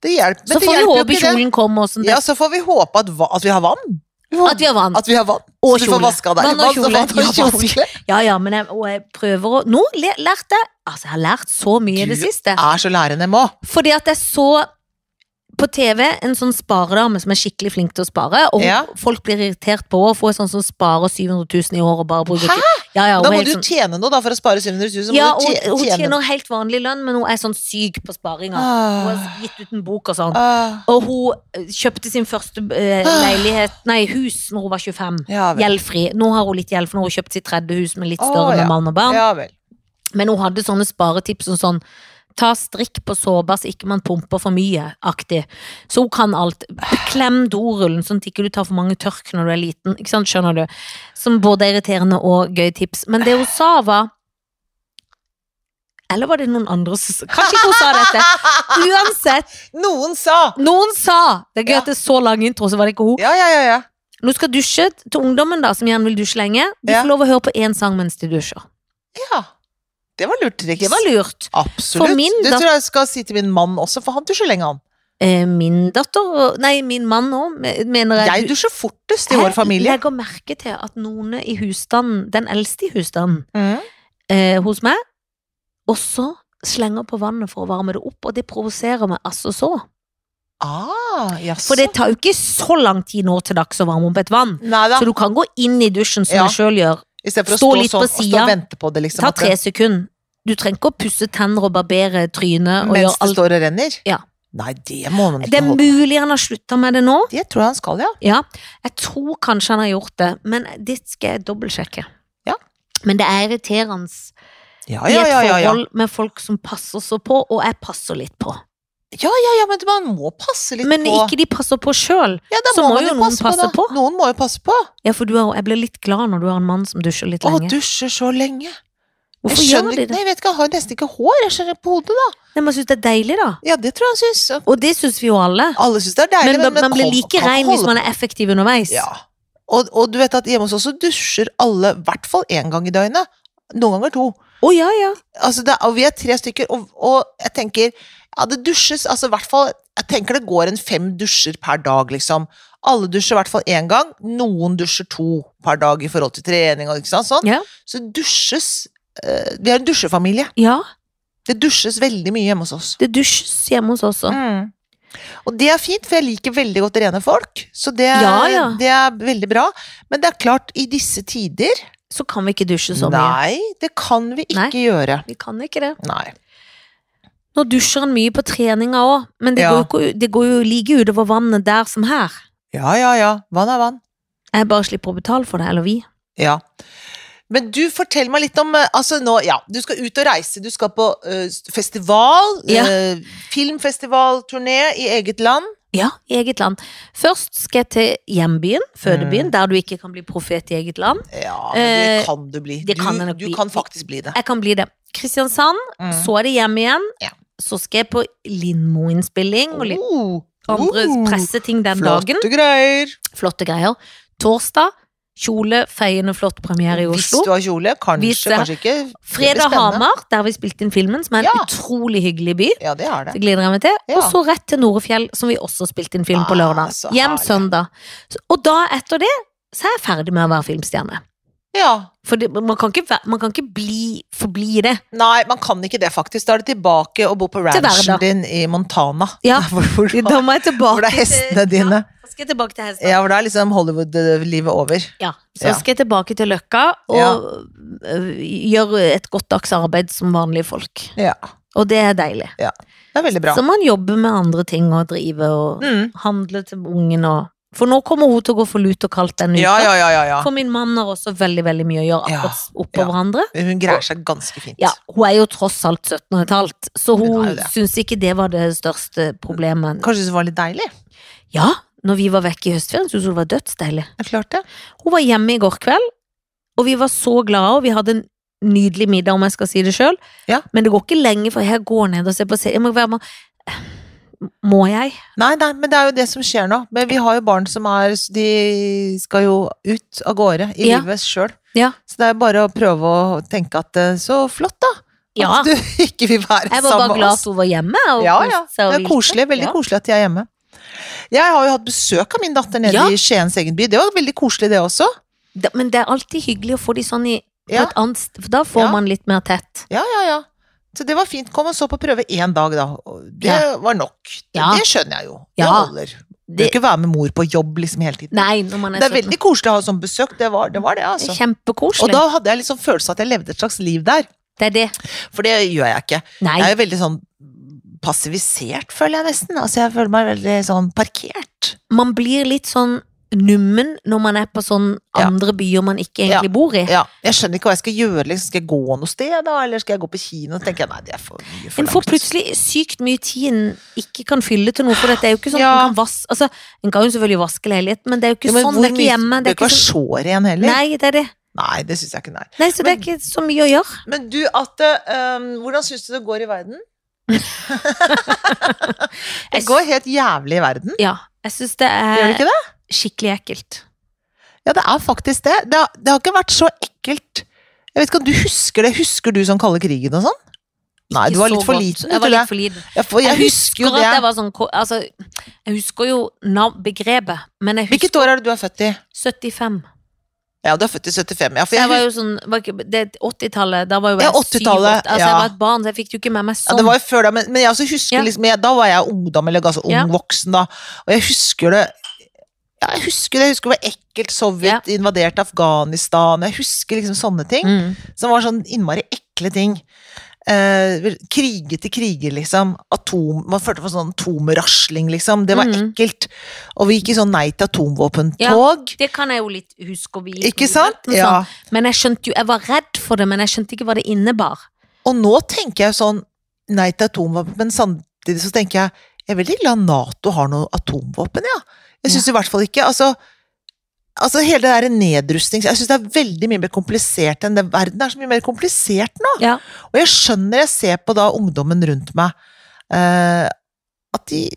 Speaker 1: Det hjelper. Men
Speaker 2: Så
Speaker 1: det
Speaker 2: får vi
Speaker 1: hjelper jo
Speaker 2: håpe
Speaker 1: ikke det.
Speaker 2: kjolen kommer. og sånn det-
Speaker 1: Ja, så får vi håpe at, va- at vi har vann. Vi får-
Speaker 2: At vi har vann.
Speaker 1: At vi har vann.
Speaker 2: Og
Speaker 1: så du får
Speaker 2: kjole.
Speaker 1: vaska deg.
Speaker 2: Vann og kjole.
Speaker 1: Vann og
Speaker 2: Ja, vask.
Speaker 1: kjole.
Speaker 2: Ja, ja, men jeg, og jeg prøver å Nå le- lærte jeg Altså, jeg har lært så mye i det
Speaker 1: Du
Speaker 2: siste.
Speaker 1: Er så lærende må.
Speaker 2: Fordi at jeg så på TV en sånn sparedame som er skikkelig flink til å spare, og hun-
Speaker 1: Ja.
Speaker 2: folk blir irritert på henne. Får sånn som sparer 700 000 i året og bare bruker
Speaker 1: Hæ?
Speaker 2: ikke- Ja, ja, hun
Speaker 1: Da
Speaker 2: er
Speaker 1: må
Speaker 2: helt
Speaker 1: du
Speaker 2: sånn-
Speaker 1: tjene noe da for å spare 700 000. så må
Speaker 2: ja,
Speaker 1: du
Speaker 2: hun,
Speaker 1: tje-
Speaker 2: hun
Speaker 1: tjene
Speaker 2: tjener helt vanlig lønn, men hun er sånn syk på sparinga. Hun
Speaker 1: Ah,
Speaker 2: har gitt ut en bok og sånn.
Speaker 1: ah,
Speaker 2: Og hun eh, kjøpte sin første eh, leilighet, nei, hus, når hun var 25.
Speaker 1: ja vel.
Speaker 2: Gjeldfri. Nå har hun litt gjeld, for nå har hun kjøpt sitt tredje hus med litt
Speaker 1: Å,
Speaker 2: større
Speaker 1: ja.
Speaker 2: med mann og barn.
Speaker 1: Ja vel.
Speaker 2: Men hun hadde sånne sparetips som sånn Ta strikk på såpa så ikke man pumper for mye, aktig. Så hun kan alt. Klem dorullen sånn at ikke du tar for mange tørk når du er liten. Ikke sant, skjønner du? Som både er irriterende og gøy tips. Men det hun sa var Eller var det noen andre som sa Kanskje ikke hun sa dette. Uansett,
Speaker 1: Noen sa
Speaker 2: noen sa Det er gøy
Speaker 1: Ja.
Speaker 2: at det er så lang intro, så var det ikke hun.
Speaker 1: Ja, ja, ja. ja.
Speaker 2: Når du skal dusje til ungdommen, da, som gjerne vil dusje lenge, de
Speaker 1: Ja.
Speaker 2: får lov å høre på én sang mens de dusjer.
Speaker 1: ja. Det var lurt triks.
Speaker 2: Det var lurt.
Speaker 1: Absolutt.
Speaker 2: For min
Speaker 1: det
Speaker 2: dat-
Speaker 1: tror jeg jeg skal si til min mann også, for han dusjer lenge, han.
Speaker 2: Eh, min datter, og- nei, min mann òg, mener jeg
Speaker 1: Jeg dusjer fortest i vår familie.
Speaker 2: Jeg legger merke til at noen i husstanden, den eldste i husstanden
Speaker 1: Mm.
Speaker 2: eh, hos meg, også slenger på vannet for å varme det opp, og det provoserer meg altså så.
Speaker 1: Ah,
Speaker 2: For
Speaker 1: jaså.
Speaker 2: det tar jo ikke så lang tid nå til dags å varme opp et vann.
Speaker 1: Nei da.
Speaker 2: Så du kan gå inn i dusjen som
Speaker 1: Ja.
Speaker 2: jeg sjøl gjør.
Speaker 1: Istedenfor å
Speaker 2: stå
Speaker 1: stå,
Speaker 2: litt på
Speaker 1: sånn og stå
Speaker 2: sida.
Speaker 1: og vente på det, liksom.
Speaker 2: Ta
Speaker 1: at det-
Speaker 2: tre sekunder. Du trenger ikke å pusse tenner og barbere trynet og
Speaker 1: Mens
Speaker 2: gjøre
Speaker 1: det
Speaker 2: alt.
Speaker 1: står og renner?
Speaker 2: Ja.
Speaker 1: Nei, det må man ikke
Speaker 2: Det er
Speaker 1: holde
Speaker 2: mulig han har slutta med det nå.
Speaker 1: Det tror jeg han skal, ja.
Speaker 2: Ja, jeg tror kanskje han har gjort det, men det skal jeg dobbeltsjekke.
Speaker 1: Ja.
Speaker 2: Men det er irriterende
Speaker 1: Ja, ja, ja.
Speaker 2: i
Speaker 1: ja,
Speaker 2: et
Speaker 1: ja.
Speaker 2: forhold med folk som passer så på, og jeg passer litt på.
Speaker 1: ja, ja, ja men man må passe litt
Speaker 2: men
Speaker 1: på
Speaker 2: ikke de passer på sjøl.
Speaker 1: ja, da
Speaker 2: så må
Speaker 1: man
Speaker 2: jo noen passe
Speaker 1: da.
Speaker 2: på.
Speaker 1: Noen må jo passe på.
Speaker 2: Ja, for du er, jeg blir litt glad når du har en mann som dusjer litt
Speaker 1: Å,
Speaker 2: lenge.
Speaker 1: dusjer så lenge.
Speaker 2: Hvorfor
Speaker 1: jeg
Speaker 2: gjør
Speaker 1: skjønner ikke,
Speaker 2: de det?
Speaker 1: nei, jeg vet ikke, han har jo nesten ikke hår. Jeg skjønner på hodet, da.
Speaker 2: Nei, men jeg syns det er deilig, da.
Speaker 1: Ja, det tror jeg han syns.
Speaker 2: Og det syns vi jo alle.
Speaker 1: Alle syns det er deilig,
Speaker 2: Men man, man blir
Speaker 1: kom-
Speaker 2: like
Speaker 1: kan
Speaker 2: rein
Speaker 1: holde
Speaker 2: hvis man er effektiv underveis.
Speaker 1: Ja. Og, og du vet at hjemme hos oss så dusjer alle i hvert fall én gang i døgnet. Noen ganger to.
Speaker 2: Å ja, ja.
Speaker 1: Altså det, er- og vi er tre stykker, og, og jeg tenker Ja, det dusjes altså i hvert fall Jeg tenker det går en fem dusjer per dag, liksom. Alle dusjer i hvert fall én gang. Noen dusjer to per dag i forhold til trening og ikke sant, sånn.
Speaker 2: Ja.
Speaker 1: Så dusjes eh, Vi er en dusjefamilie.
Speaker 2: Ja,
Speaker 1: Det dusjes veldig mye hjemme hos oss.
Speaker 2: det dusjes hjemme hos oss også.
Speaker 1: Mm. Og det er fint, for jeg liker veldig godt rene folk, så det,
Speaker 2: Ja, ja.
Speaker 1: det er veldig bra. Men det er klart, i disse tider
Speaker 2: Så kan vi ikke dusje så mye.
Speaker 1: Nei, det kan vi ikke
Speaker 2: Nei.
Speaker 1: gjøre.
Speaker 2: Vi kan ikke det.
Speaker 1: Nei.
Speaker 2: Nå dusjer han mye på treninga òg, men det,
Speaker 1: Ja.
Speaker 2: går jo, ikke- det går jo like utover vannet der som her.
Speaker 1: Ja, ja, ja. Vann er vann.
Speaker 2: Jeg bare slipper å betale for det, eller vi.
Speaker 1: Ja. Men du, fortell meg litt om eh, altså nå, ja, Du skal ut og reise. Du skal på eh, festival,
Speaker 2: Ja.
Speaker 1: eh, filmfestivalturné i eget land.
Speaker 2: Ja, i eget land. Først skal jeg til hjembyen, fødebyen,
Speaker 1: Mm.
Speaker 2: der du ikke kan bli profet i eget land.
Speaker 1: Ja, men det
Speaker 2: Eh,
Speaker 1: kan du bli.
Speaker 2: det
Speaker 1: du,
Speaker 2: kan jeg nok
Speaker 1: du
Speaker 2: bli.
Speaker 1: kan faktisk bli det.
Speaker 2: Jeg kan bli det. Kristiansand,
Speaker 1: Mm.
Speaker 2: så er det hjem igjen.
Speaker 1: Ja.
Speaker 2: Så skal jeg på Lindmo-innspilling og litt
Speaker 1: Oh,
Speaker 2: andre
Speaker 1: oh,
Speaker 2: presseting den dagen.
Speaker 1: Flotte greier.
Speaker 2: Flotte greier. Torsdag, kjole, feiende flott premiere i
Speaker 1: Hvis
Speaker 2: Oslo.
Speaker 1: du har kjole,
Speaker 2: Hvis
Speaker 1: kanskje,
Speaker 2: det-
Speaker 1: kanskje ikke. Det blir
Speaker 2: Fredag
Speaker 1: spennende.
Speaker 2: Hamar, der vi spilte inn filmen, som er en
Speaker 1: Ja.
Speaker 2: utrolig hyggelig by.
Speaker 1: Ja, det er det.
Speaker 2: Det gleder jeg meg til.
Speaker 1: Ja.
Speaker 2: Og så rett til Norefjell, som vi også spilte inn film på
Speaker 1: Ah,
Speaker 2: lørdag.
Speaker 1: så
Speaker 2: Hjem
Speaker 1: herlig.
Speaker 2: søndag. Så- Og da, etter det, så er jeg ferdig med å være filmstjerne.
Speaker 1: Ja.
Speaker 2: For det, man kan ikke, væ- man kan ikke bli, forbli det.
Speaker 1: Nei, man kan ikke det, faktisk. Da er det tilbake å bo på ranchen
Speaker 2: hverdag.
Speaker 1: din i Montana.
Speaker 2: Ja.
Speaker 1: Hvor, hvor,
Speaker 2: Da må jeg
Speaker 1: hvor
Speaker 2: tilbake
Speaker 1: det er hestene
Speaker 2: til,
Speaker 1: dine.
Speaker 2: Ja, så skal jeg tilbake til hestene.
Speaker 1: Ja, hvor det er liksom Hollywood-livet over.
Speaker 2: Ja, så
Speaker 1: Ja.
Speaker 2: skal jeg tilbake til Løkka og øh, gjøre et godt dags arbeid som vanlige folk.
Speaker 1: Ja,
Speaker 2: Og det er deilig.
Speaker 1: det er veldig bra.
Speaker 2: Så man jobber med andre ting og drive og
Speaker 1: Mm.
Speaker 2: handle til ungen og For nå kommer hun til å gå for lut og kaldt denne
Speaker 1: Ja,
Speaker 2: uka.
Speaker 1: ja, ja, ja, ja.
Speaker 2: For min mann har også veldig veldig mye å gjøre
Speaker 1: Ja,
Speaker 2: akkurat oppå
Speaker 1: ja.
Speaker 2: hverandre.
Speaker 1: Hun greier seg ganske fint.
Speaker 2: Ja, hun er jo tross alt 17 og et halvt, så
Speaker 1: Hun er
Speaker 2: hun
Speaker 1: jo det.
Speaker 2: syns ikke det var det største problemet.
Speaker 1: Kanskje det var litt deilig?
Speaker 2: Ja, når vi var vekk i høstferien, syntes hun det var dødsdeilig.
Speaker 1: Det er klart det.
Speaker 2: Hun var hjemme i går kveld, og vi var så glade, og vi hadde en nydelig middag, om jeg skal si det sjøl.
Speaker 1: Ja.
Speaker 2: Men det går ikke lenge før jeg går ned og ser på serie. Jeg må, være med. må jeg?
Speaker 1: Nei, nei, men det er jo det som skjer nå. Men vi har jo barn som er De skal jo ut av gårde i
Speaker 2: Ja.
Speaker 1: livet sjøl.
Speaker 2: Ja.
Speaker 1: Så det er bare å prøve å tenke at eh, så flott, da.
Speaker 2: Ja.
Speaker 1: At du ikke vil være
Speaker 2: Jeg var bare
Speaker 1: sammen med
Speaker 2: glad at
Speaker 1: oss.
Speaker 2: hun var hjemme. Og
Speaker 1: Ja, ja.
Speaker 2: koste seg og
Speaker 1: Det er
Speaker 2: hvilte.
Speaker 1: koselig. Veldig
Speaker 2: Ja.
Speaker 1: koselig at de er hjemme. Jeg har jo hatt besøk av min datter nede
Speaker 2: Ja.
Speaker 1: i Skiens egen by. Det var veldig koselig, det også.
Speaker 2: Da- Men det er alltid hyggelig å få de sånn i på
Speaker 1: Ja.
Speaker 2: et annet sted, for da får
Speaker 1: Ja.
Speaker 2: man litt mer tett.
Speaker 1: Ja, ja, ja. Så det var fint. Kom og så på prøve én dag, da. Og Det
Speaker 2: Ja.
Speaker 1: var nok.
Speaker 2: Ja.
Speaker 1: Det skjønner jeg jo. Det
Speaker 2: Ja.
Speaker 1: holder. Du
Speaker 2: Det,
Speaker 1: vil ikke være med mor på jobb liksom hele tiden.
Speaker 2: nei, når man er
Speaker 1: det er
Speaker 2: 17.
Speaker 1: veldig koselig å ha sånn besøk. Det var det, var det
Speaker 2: Det
Speaker 1: altså.
Speaker 2: er Kjempekoselig.
Speaker 1: Og da hadde jeg liksom følelsen av at jeg levde et slags liv der.
Speaker 2: det er det.
Speaker 1: For det gjør jeg ikke.
Speaker 2: Nei.
Speaker 1: Jeg er jo veldig sånn passivisert, føler jeg nesten. Altså, jeg føler meg veldig sånn parkert.
Speaker 2: Man blir litt sånn nummen når man er på sånn
Speaker 1: Ja.
Speaker 2: andre byer man ikke egentlig bor i.
Speaker 1: Ja, jeg skjønner ikke hva jeg skal gjøre. Liksom. Skal jeg gå noe sted, da? Eller skal jeg gå på kino? Så tenker jeg nei, det er for mye
Speaker 2: En
Speaker 1: for
Speaker 2: får
Speaker 1: langt.
Speaker 2: plutselig sykt mye tid en ikke kan fylle til noe, for det er jo ikke sånn at
Speaker 1: Ja.
Speaker 2: en kan vaske altså, En kan jo selvfølgelig vaske leiligheten, men det er jo ikke
Speaker 1: Ja, men
Speaker 2: sånn.
Speaker 1: hvor
Speaker 2: Det er ikke
Speaker 1: mye-
Speaker 2: hjemme.
Speaker 1: Det
Speaker 2: Det
Speaker 1: er ikke være
Speaker 2: sånn,
Speaker 1: sår igjen heller.
Speaker 2: nei, det er det.
Speaker 1: Nei, det syns jeg ikke, nei.
Speaker 2: Nei, så det er ikke så mye å gjøre.
Speaker 1: Men du, Atte, øhm, hvordan syns du det går i verden? Det
Speaker 2: Jeg,
Speaker 1: går
Speaker 2: sy-
Speaker 1: helt jævlig i verden.
Speaker 2: ja, jeg syns det
Speaker 1: Gjør det
Speaker 2: er
Speaker 1: ikke det?
Speaker 2: skikkelig ekkelt.
Speaker 1: Eh, Ja, det er faktisk det. Det har, det har ikke vært så ekkelt. Jeg vet ikke om du husker det. Husker du sånn kalde krigen og sånn? Nei,
Speaker 2: Ikke
Speaker 1: du var
Speaker 2: så
Speaker 1: litt for
Speaker 2: godt.
Speaker 1: liten.
Speaker 2: Jeg var
Speaker 1: tror
Speaker 2: litt
Speaker 1: Jeg,
Speaker 2: for liten.
Speaker 1: jeg, for, jeg
Speaker 2: Jeg
Speaker 1: husker jo
Speaker 2: husker at jeg
Speaker 1: det.
Speaker 2: var sånn ko- Altså, jeg husker jo nav- begrepet, men jeg
Speaker 1: Hvilket
Speaker 2: husker
Speaker 1: år er det du er født i?
Speaker 2: 75.
Speaker 1: Ja, du er født i 75. Ja, for
Speaker 2: Jeg
Speaker 1: jeg,
Speaker 2: var jo sånn, var ikke, det er 80-tallet, da var jo
Speaker 1: Ja,
Speaker 2: jeg
Speaker 1: 80-tallet,
Speaker 2: 7-8
Speaker 1: ja.
Speaker 2: altså, Jeg var et barn, så jeg fikk det jo ikke med meg
Speaker 1: ja,
Speaker 2: sånn
Speaker 1: det var jo før da, men, men jeg også husker
Speaker 2: Ja.
Speaker 1: liksom jeg, Da var jeg ungdom, eller altså ung
Speaker 2: Ja.
Speaker 1: voksen, da. Og jeg husker det ja, jeg husker det, jeg husker det var ekkelt. Sovjet invaderte Afghanistan. Jeg husker liksom sånne ting.
Speaker 2: Mm.
Speaker 1: Som var sånn innmari ekle ting. Eh, vel, krige til kriger, liksom. Atom, man følte for sånn atomrasling, liksom. Det var
Speaker 2: Mhm.
Speaker 1: ekkelt. Og vi gikk i sånn nei til atomvåpentog.
Speaker 2: Det kan jeg jo litt huske å bli
Speaker 1: Ikke sant? Ja.
Speaker 2: Men jeg skjønte jo, jeg var redd for det, men jeg skjønte ikke hva det innebar
Speaker 1: Og nå tenker jeg sånn nei til atomvåpen, men samtidig så tenker jeg jeg er veldig glad Nato har noe atomvåpen, ja. Jeg syns i hvert fall ikke Altså, altså hele det der nedrustning Jeg syns det er veldig mye mer komplisert enn det. Verden er så mye mer komplisert nå.
Speaker 2: Ja,
Speaker 1: Og jeg skjønner, jeg ser på da ungdommen rundt meg, eh, at de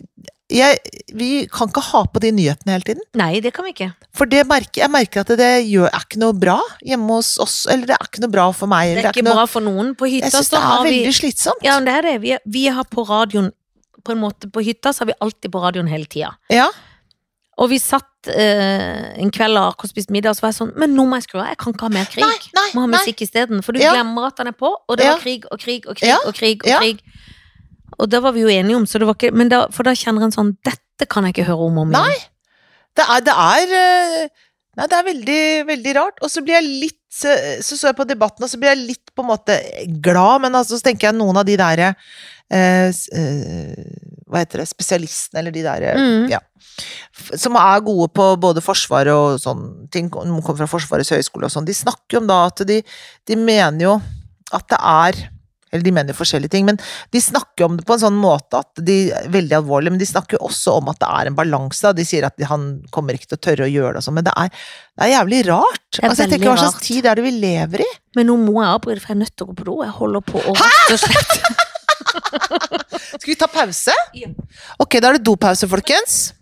Speaker 1: jeg, Vi kan ikke ha på de nyhetene hele tiden.
Speaker 2: nei, det kan vi ikke
Speaker 1: For det merker, jeg merker at det gjør, er ikke noe bra hjemme hos oss. Eller det er ikke noe bra for meg.
Speaker 2: Det
Speaker 1: Eller
Speaker 2: er ikke
Speaker 1: noe,
Speaker 2: bra for noen på
Speaker 1: jeg
Speaker 2: hytta
Speaker 1: syns det
Speaker 2: så
Speaker 1: er
Speaker 2: har vi,
Speaker 1: veldig slitsomt.
Speaker 2: Ja, det er det, vi, vi har på radioen På en måte på hytta, så har vi alltid på radioen hele tiden
Speaker 1: Ja.
Speaker 2: Og vi satt eh, en kveld og akkurat spist middag, og så var jeg sånn Men nå må jeg skru av, jeg kan ikke ha mer krig.
Speaker 1: Nei, nei,
Speaker 2: må ha
Speaker 1: nei.
Speaker 2: musikk isteden. For du
Speaker 1: Ja.
Speaker 2: glemmer at den er på, og det
Speaker 1: Ja.
Speaker 2: var krig og krig og krig
Speaker 1: Ja.
Speaker 2: og krig. Og
Speaker 1: Ja.
Speaker 2: krig Og da var vi jo enige om, så det var ikke Men da, for da kjenner en sånn Dette kan jeg ikke høre om og om
Speaker 1: Nei. Det er, det er eh, Nei, det er veldig, veldig rart. Og så blir jeg litt eh, Så så jeg på debatten, og så blir jeg litt på en måte glad, men altså, så tenker jeg noen av de derre eh, s- eh, Hva heter det Spesialistene, eller de eh, derre
Speaker 2: Mm.
Speaker 1: Ja. f- Som er gode på både Forsvaret og sånne ting. og Noen sånn, kommer fra Forsvarets høgskole og sånn. De snakker jo om da at de, de mener jo at det er Eller de mener jo forskjellige ting, men de snakker om det på en sånn måte at de er veldig alvorlig, men de snakker jo også om at det er en balanse. og De sier at de, han kommer ikke til å tørre å gjøre det og sånn, men det er, det er jævlig rart. altså,
Speaker 2: er
Speaker 1: jeg
Speaker 2: veldig
Speaker 1: tenker hva
Speaker 2: rart.
Speaker 1: slags tid er det vi lever i?
Speaker 2: Men nå må jeg avbryte, for jeg er nødt til å gå på do. Jeg holder på å rett og slett
Speaker 1: Skal vi ta pause?
Speaker 2: Ja.
Speaker 1: Ok, da er det dopause, folkens.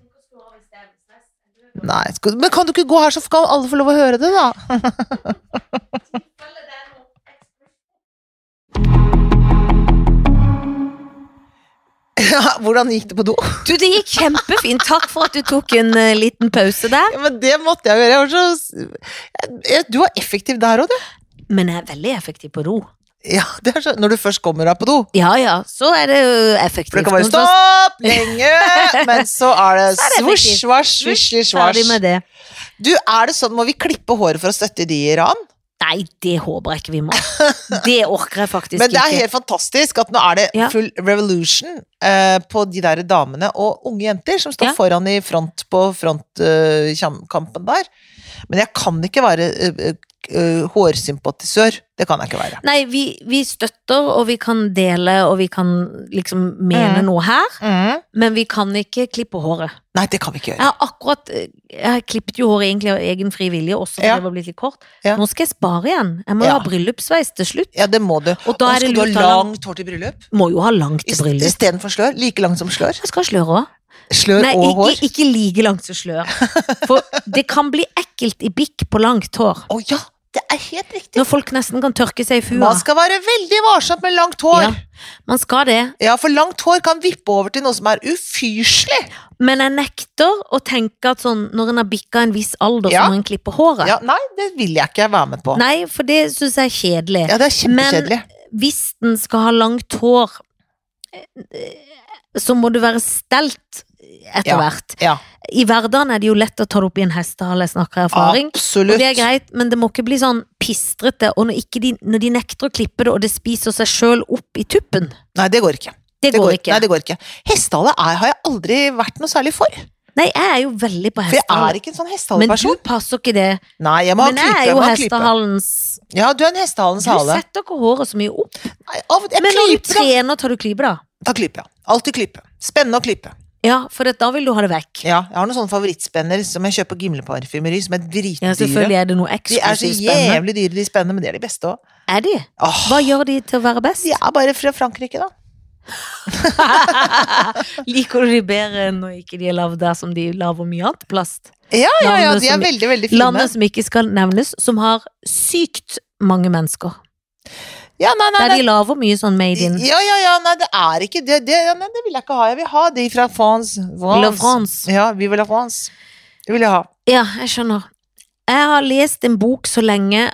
Speaker 1: Nei, skal, men kan du ikke gå her, så skal alle få lov å høre det, da? Ja, hvordan gikk det på do?
Speaker 2: Du, det gikk kjempefint. Takk for at du tok en eh, liten pause der.
Speaker 1: Ja, men det måtte jeg gjøre. Jeg var så, jeg, du var effektiv der òg, du.
Speaker 2: Men jeg er veldig effektiv på do.
Speaker 1: Ja, det er så, når du først kommer deg på do.
Speaker 2: Ja ja, så er det jo effektivt.
Speaker 1: For det kan være
Speaker 2: Noen som-
Speaker 1: stopp lenge, men så er det
Speaker 2: Så er det
Speaker 1: svosj,
Speaker 2: effektivt.
Speaker 1: svasj, svisj, svasj.
Speaker 2: Ferdig med det.
Speaker 1: Du, er det sånn, må vi klippe håret for å støtte de i Iran?
Speaker 2: Nei, det håper jeg ikke vi må. Det orker jeg faktisk
Speaker 1: Men det er
Speaker 2: ikke.
Speaker 1: helt fantastisk at nå er det
Speaker 2: Ja.
Speaker 1: full revolution eh, på de der damene og unge jenter som står
Speaker 2: Ja.
Speaker 1: foran i front på frontkampen der. Men jeg kan ikke være eh, eh, hårsympatisør. Det kan jeg ikke være.
Speaker 2: Nei, vi, vi støtter, og vi kan dele, og vi kan liksom mene
Speaker 1: Mm.
Speaker 2: noe her, men vi kan ikke klippe håret.
Speaker 1: Nei, det kan vi ikke
Speaker 2: Jeg
Speaker 1: gjøre.
Speaker 2: har akkurat eh, Jeg har klippet jo håret egentlig av egen fri vilje, også fordi
Speaker 1: Ja.
Speaker 2: det var blitt litt kort.
Speaker 1: Ja.
Speaker 2: Nå skal jeg spare igjen. Jeg må jo
Speaker 1: Ja.
Speaker 2: ha bryllupsveis til slutt.
Speaker 1: Ja, det må du.
Speaker 2: Og da
Speaker 1: Og
Speaker 2: er det
Speaker 1: skal du ha
Speaker 2: lurt å ha lang-
Speaker 1: langt hår til bryllup?
Speaker 2: Må jo ha langt
Speaker 1: I-
Speaker 2: til bryllup.
Speaker 1: Istedenfor slør? Like langt som slør?
Speaker 2: Jeg skal ha slør òg.
Speaker 1: Slør
Speaker 2: Nei,
Speaker 1: og
Speaker 2: ikke,
Speaker 1: hår?
Speaker 2: ikke like langt som slør. For det kan bli ekkelt i bikk på langt hår.
Speaker 1: Å ja, det er helt riktig.
Speaker 2: Når folk nesten kan tørke seg i fua.
Speaker 1: Man skal være veldig varsom med langt hår.
Speaker 2: Ja. Man skal det.
Speaker 1: Ja, for langt hår kan vippe over til noe som er ufyselig.
Speaker 2: Men jeg nekter å tenke at sånn, når en har bikka en viss alder,
Speaker 1: Ja.
Speaker 2: så må en klippe håret.
Speaker 1: Ja, nei, det vil jeg ikke være med på.
Speaker 2: Nei, for det syns jeg er kjedelig.
Speaker 1: Ja, det er kjempekjedelig.
Speaker 2: Hvis en skal ha langt hår, eh, så må det være stelt etter
Speaker 1: Ja.
Speaker 2: hvert.
Speaker 1: Ja,
Speaker 2: I hverdagen er det jo lett å ta det opp i en hestehale, jeg snakker av erfaring.
Speaker 1: absolutt.
Speaker 2: Og det er greit, men det må ikke bli sånn pistrete. Og når, ikke de, når de nekter å klippe det, og det spiser seg sjøl opp i tuppen,
Speaker 1: Nei, det går ikke.
Speaker 2: det, går ikke.
Speaker 1: Nei, det går ikke. Hestehale er- har jeg aldri vært noe særlig for.
Speaker 2: Nei, jeg er jo veldig på
Speaker 1: For jeg er
Speaker 2: hestehalen.
Speaker 1: ikke en sånn
Speaker 2: Men du
Speaker 1: hestehaleperson.
Speaker 2: passer ikke det.
Speaker 1: Nei, jeg må ha
Speaker 2: Men
Speaker 1: klype.
Speaker 2: jeg er
Speaker 1: Jeg
Speaker 2: jo
Speaker 1: må ha klype.
Speaker 2: hestehalens
Speaker 1: Ja, du er en hestehalens
Speaker 2: Du
Speaker 1: hale.
Speaker 2: setter ikke håret så mye opp.
Speaker 1: Nei, av og til-
Speaker 2: Men når
Speaker 1: Jeg klyper,
Speaker 2: du
Speaker 1: da.
Speaker 2: trener, tar du klype, da.
Speaker 1: Da klyper jeg. Alltid klype. Spennende å klype.
Speaker 2: Ja, for det- da vil du ha det vekk.
Speaker 1: Ja, jeg har noen sånne favorittspenner som jeg kjøper gimleparfymeri, som er
Speaker 2: Ja,
Speaker 1: dritdyre.
Speaker 2: selvfølgelig er det noe
Speaker 1: de er så
Speaker 2: eksklusivt spennende.
Speaker 1: jævlig dyre, de spennene, men de er de beste òg.
Speaker 2: Er de?
Speaker 1: Åh,
Speaker 2: Hva gjør de til å være best?
Speaker 1: de er bare fra Frankrike, da.
Speaker 2: Liker du de bedre enn når ikke de er lagd der som de lager mye annet plast?
Speaker 1: Ja, ja, ja,
Speaker 2: Landet
Speaker 1: de er
Speaker 2: som-
Speaker 1: veldig, veldig fine.
Speaker 2: Landet som ikke skal nevnes, som har sykt mange mennesker.
Speaker 1: Ja, nei, nei,
Speaker 2: Der
Speaker 1: nei,
Speaker 2: de lager mye sånn made in
Speaker 1: Ja, ja, ja, nei, det er ikke det. det ja, nei, det vil jeg ikke ha. Jeg vil ha de fra France. France.
Speaker 2: La France.
Speaker 1: Ja, vi vil ha France. Det vil jeg ha.
Speaker 2: Ja, jeg skjønner. Jeg har lest en bok så lenge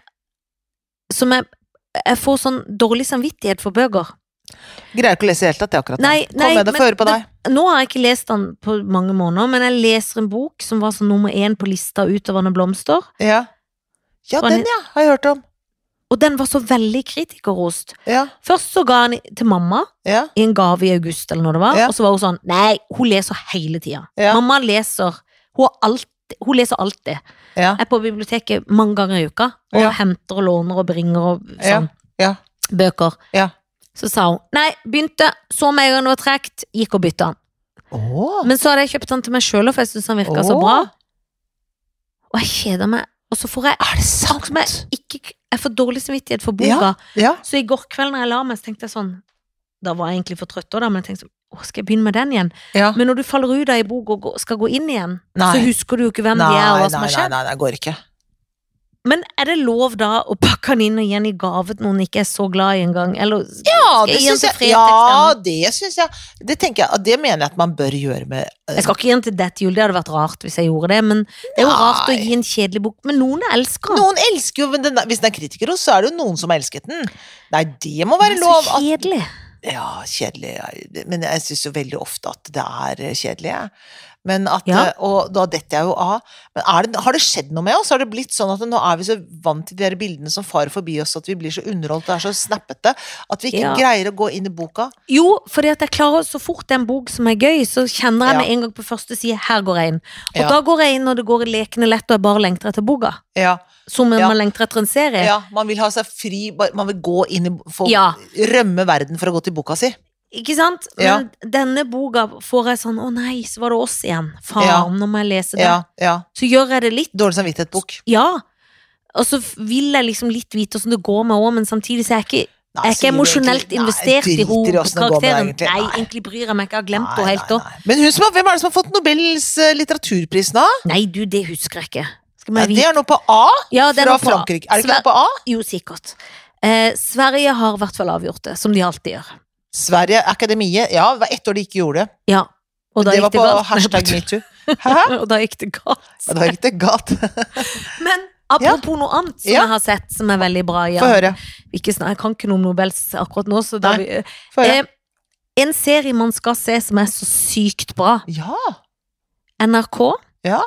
Speaker 2: som jeg, jeg får sånn dårlig samvittighet for bøker.
Speaker 1: Greier ikke å lese i det hele tatt, det akkurat nå.
Speaker 2: Nei, nei,
Speaker 1: Kom med det,
Speaker 2: men-
Speaker 1: få høre på deg.
Speaker 2: Nå har jeg ikke lest den på mange måneder, men jeg leser en bok som var sånn nummer én på lista utoverne blomster.
Speaker 1: Ja. ja,
Speaker 2: Hva
Speaker 1: den ja, har jeg hørt om.
Speaker 2: Og den var så veldig kritikerrost.
Speaker 1: Ja,
Speaker 2: Først så ga han til mamma
Speaker 1: ja,
Speaker 2: i en gave i august, eller når det var,
Speaker 1: Ja.
Speaker 2: og så var hun sånn Nei, hun leser hele tida.
Speaker 1: Ja.
Speaker 2: Mamma leser hun, har alt, hun leser alltid.
Speaker 1: ja.
Speaker 2: Jeg er på biblioteket mange ganger i uka og
Speaker 1: Ja.
Speaker 2: henter og låner og bringer og sånn.
Speaker 1: Ja, ja.
Speaker 2: Bøker.
Speaker 1: Ja.
Speaker 2: Så sa hun nei, begynte, så med en gang det var tregt, gikk og bytta den.
Speaker 1: Åh.
Speaker 2: Men så hadde jeg kjøpt den til meg sjøl, for jeg syntes den virka Mm, så
Speaker 1: Åh.
Speaker 2: bra. Og jeg kjeder meg. Og så får jeg
Speaker 1: Er det
Speaker 2: Takk som jeg
Speaker 1: sant?
Speaker 2: ikke Jeg får dårlig samvittighet for boka.
Speaker 1: Ja.
Speaker 2: Så i går kveld når jeg la meg, så tenkte jeg sånn Da var jeg egentlig for trøtt òg, da, men jeg tenkte sånn Å, skal jeg begynne med den igjen?
Speaker 1: ja.
Speaker 2: Men når du faller ut av ei bok og gå- skal gå inn igjen, så
Speaker 1: Nei.
Speaker 2: husker du jo ikke hvem
Speaker 1: Nei,
Speaker 2: de er, og
Speaker 1: nei,
Speaker 2: hva som
Speaker 1: nei,
Speaker 2: har
Speaker 1: nei,
Speaker 2: skjedd.
Speaker 1: nei, det går ikke.
Speaker 2: Men er det lov da å pakke den inn og gi den i gave til noen ikke er så glad i engang? Eller
Speaker 1: Ja,
Speaker 2: Skal
Speaker 1: det
Speaker 2: jeg gi den
Speaker 1: syns
Speaker 2: til
Speaker 1: jeg,
Speaker 2: Fretex,
Speaker 1: ja,
Speaker 2: den?
Speaker 1: det synes jeg. Det tenker jeg, og det mener jeg at man bør gjøre med eh,
Speaker 2: Jeg skal ikke gi den til dette jul, det hadde vært rart hvis jeg gjorde det, men det er jo
Speaker 1: Nei.
Speaker 2: rart å gi en kjedelig bok. Men noen jeg elsker.
Speaker 1: Noen elsker jo, men den, hvis den er kritiker, så er det jo noen som har elsket den. Nei, det må være
Speaker 2: Den er
Speaker 1: lov.
Speaker 2: Så
Speaker 1: At,
Speaker 2: kjedelig.
Speaker 1: ja, kjedelig. ja, Men jeg syns jo veldig ofte at det er eh, kjedelig. jeg. Men at,
Speaker 2: Ja.
Speaker 1: eh, Og da detter jeg jo av. Men er det, har det skjedd noe med oss? Har det blitt sånn at nå er vi så vant til de der bildene som farer forbi oss, at vi blir så underholdt og er så snappete at vi ikke
Speaker 2: Ja.
Speaker 1: greier å gå inn i boka?
Speaker 2: Jo, fordi at jeg klarer så fort en bok som er gøy, så kjenner jeg
Speaker 1: Ja.
Speaker 2: med en gang på første side her går jeg inn. Og
Speaker 1: Ja.
Speaker 2: da går jeg inn når det går lekende lett, og jeg bare lengter etter boka.
Speaker 1: Ja.
Speaker 2: Som om
Speaker 1: Ja.
Speaker 2: man lengter etter en serie.
Speaker 1: ja man vil ha seg fri, bare- man vil gå inn i få,
Speaker 2: Eh. Ja.
Speaker 1: Rømme verden for å gå til boka si.
Speaker 2: Ikke sant?
Speaker 1: Ja.
Speaker 2: Men denne boka får jeg sånn Å nei, så var det oss igjen. Faen,
Speaker 1: Ja.
Speaker 2: nå må jeg lese det.
Speaker 1: Ja, ja.
Speaker 2: Så gjør jeg det litt.
Speaker 1: Dårlig samvittighet-bok.
Speaker 2: Ja. Og så f- vil jeg liksom litt vite åssen det går med henne, men samtidig så er jeg ikke
Speaker 1: Nei,
Speaker 2: jeg er
Speaker 1: sier
Speaker 2: ikke
Speaker 1: du
Speaker 2: emosjonelt
Speaker 1: egentlig-
Speaker 2: investert i
Speaker 1: Nei, driter åssen det altså, går med deg,
Speaker 2: hovedkarakteren.
Speaker 1: egentlig.
Speaker 2: Nei,
Speaker 1: Nei.
Speaker 2: egentlig bryr jeg meg ikke. Jeg har glemt
Speaker 1: Nei,
Speaker 2: henne helt
Speaker 1: nei,
Speaker 2: òg.
Speaker 1: nei. Men hun som har, hvem er det som har fått Nobels eh, litteraturpris nå?
Speaker 2: Nei, du, det husker jeg ikke. Skal
Speaker 1: Ja,
Speaker 2: vi
Speaker 1: det er noe på A
Speaker 2: Ja, det er
Speaker 1: fra
Speaker 2: noe på A.
Speaker 1: Frankrike. Er det ikke
Speaker 2: Sver-
Speaker 1: noe på A?
Speaker 2: Jo, sikkert. Eh, Sverige har i hvert fall avgjort det, som de alltid gjør.
Speaker 1: Sverige, Akademiet. Ja, det var ett år de ikke gjorde det.
Speaker 2: Ja. Og da
Speaker 1: det
Speaker 2: gikk
Speaker 1: var
Speaker 2: det
Speaker 1: på
Speaker 2: galt.
Speaker 1: hashtag metoo. Hæ?
Speaker 2: Og da gikk det galt.
Speaker 1: Ja, Det var ikke det galt.
Speaker 2: Men apropos noe annet som
Speaker 1: Ja.
Speaker 2: jeg har sett som er veldig bra
Speaker 1: Få
Speaker 2: Jan.
Speaker 1: høre.
Speaker 2: Ikke snak- Jeg kan ikke noe om Nobels akkurat nå, så
Speaker 1: Nei.
Speaker 2: da vi,
Speaker 1: Få høre.
Speaker 2: eh, En serie man skal se som er så sykt bra.
Speaker 1: Ja.
Speaker 2: NRK.
Speaker 1: Ja.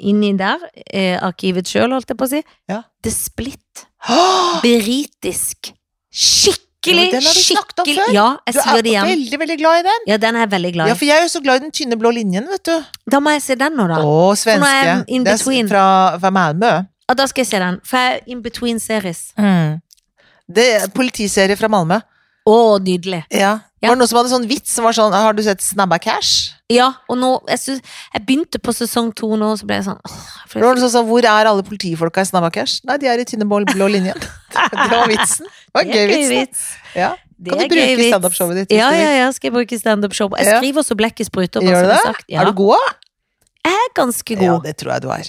Speaker 2: Inni der. Eh, arkivet sjøl, holdt jeg på å si.
Speaker 1: Ja.
Speaker 2: The Split.
Speaker 1: Åh,
Speaker 2: Britisk. Skikkelig,
Speaker 1: Ja, den har vi snakket om
Speaker 2: skikkelig
Speaker 1: før.
Speaker 2: Ja, jeg
Speaker 1: Du er
Speaker 2: sier det igjen.
Speaker 1: veldig, veldig glad i den.
Speaker 2: Ja, den er jeg veldig glad i.
Speaker 1: Ja, for jeg er jo så glad i den tynne blå linjen, vet du.
Speaker 2: Da må jeg se den nå, da.
Speaker 1: Å,
Speaker 2: nå er jeg
Speaker 1: svenske.
Speaker 2: in
Speaker 1: Det er s-
Speaker 2: between.
Speaker 1: fra, fra Malmö.
Speaker 2: Ja, da skal jeg se den. For jeg er in between series.
Speaker 1: Det er politiserie fra Malmö.
Speaker 2: Å, nydelig.
Speaker 1: Ja.
Speaker 2: Ja.
Speaker 1: Var det noen som hadde sånn vits som var sånn Har du sett Snabba Cash?
Speaker 2: Ja, og nå Jeg, synes, jeg begynte på sesong to nå, og så ble jeg sånn åh, for
Speaker 1: Det var noen som sa, Hvor er alle politifolka i Snabba Cash? Nei, de er i tynne blå, blå linjen. Det var vitsen. Det var en gøy vits. da. Ja.
Speaker 2: Det
Speaker 1: Kan du
Speaker 2: er
Speaker 1: bruke
Speaker 2: gøy
Speaker 1: i
Speaker 2: vits.
Speaker 1: standup-showet ditt? hvis
Speaker 2: Ja,
Speaker 1: du vil?
Speaker 2: ja, ja, skal jeg bruke i standup-show. Jeg
Speaker 1: Ja.
Speaker 2: skriver så blekket spruter.
Speaker 1: Gjør du
Speaker 2: det?
Speaker 1: det?
Speaker 2: Sagt. Ja,
Speaker 1: Er du god? da?
Speaker 2: Jeg er ganske
Speaker 1: Ja,
Speaker 2: god.
Speaker 1: det tror jeg du er.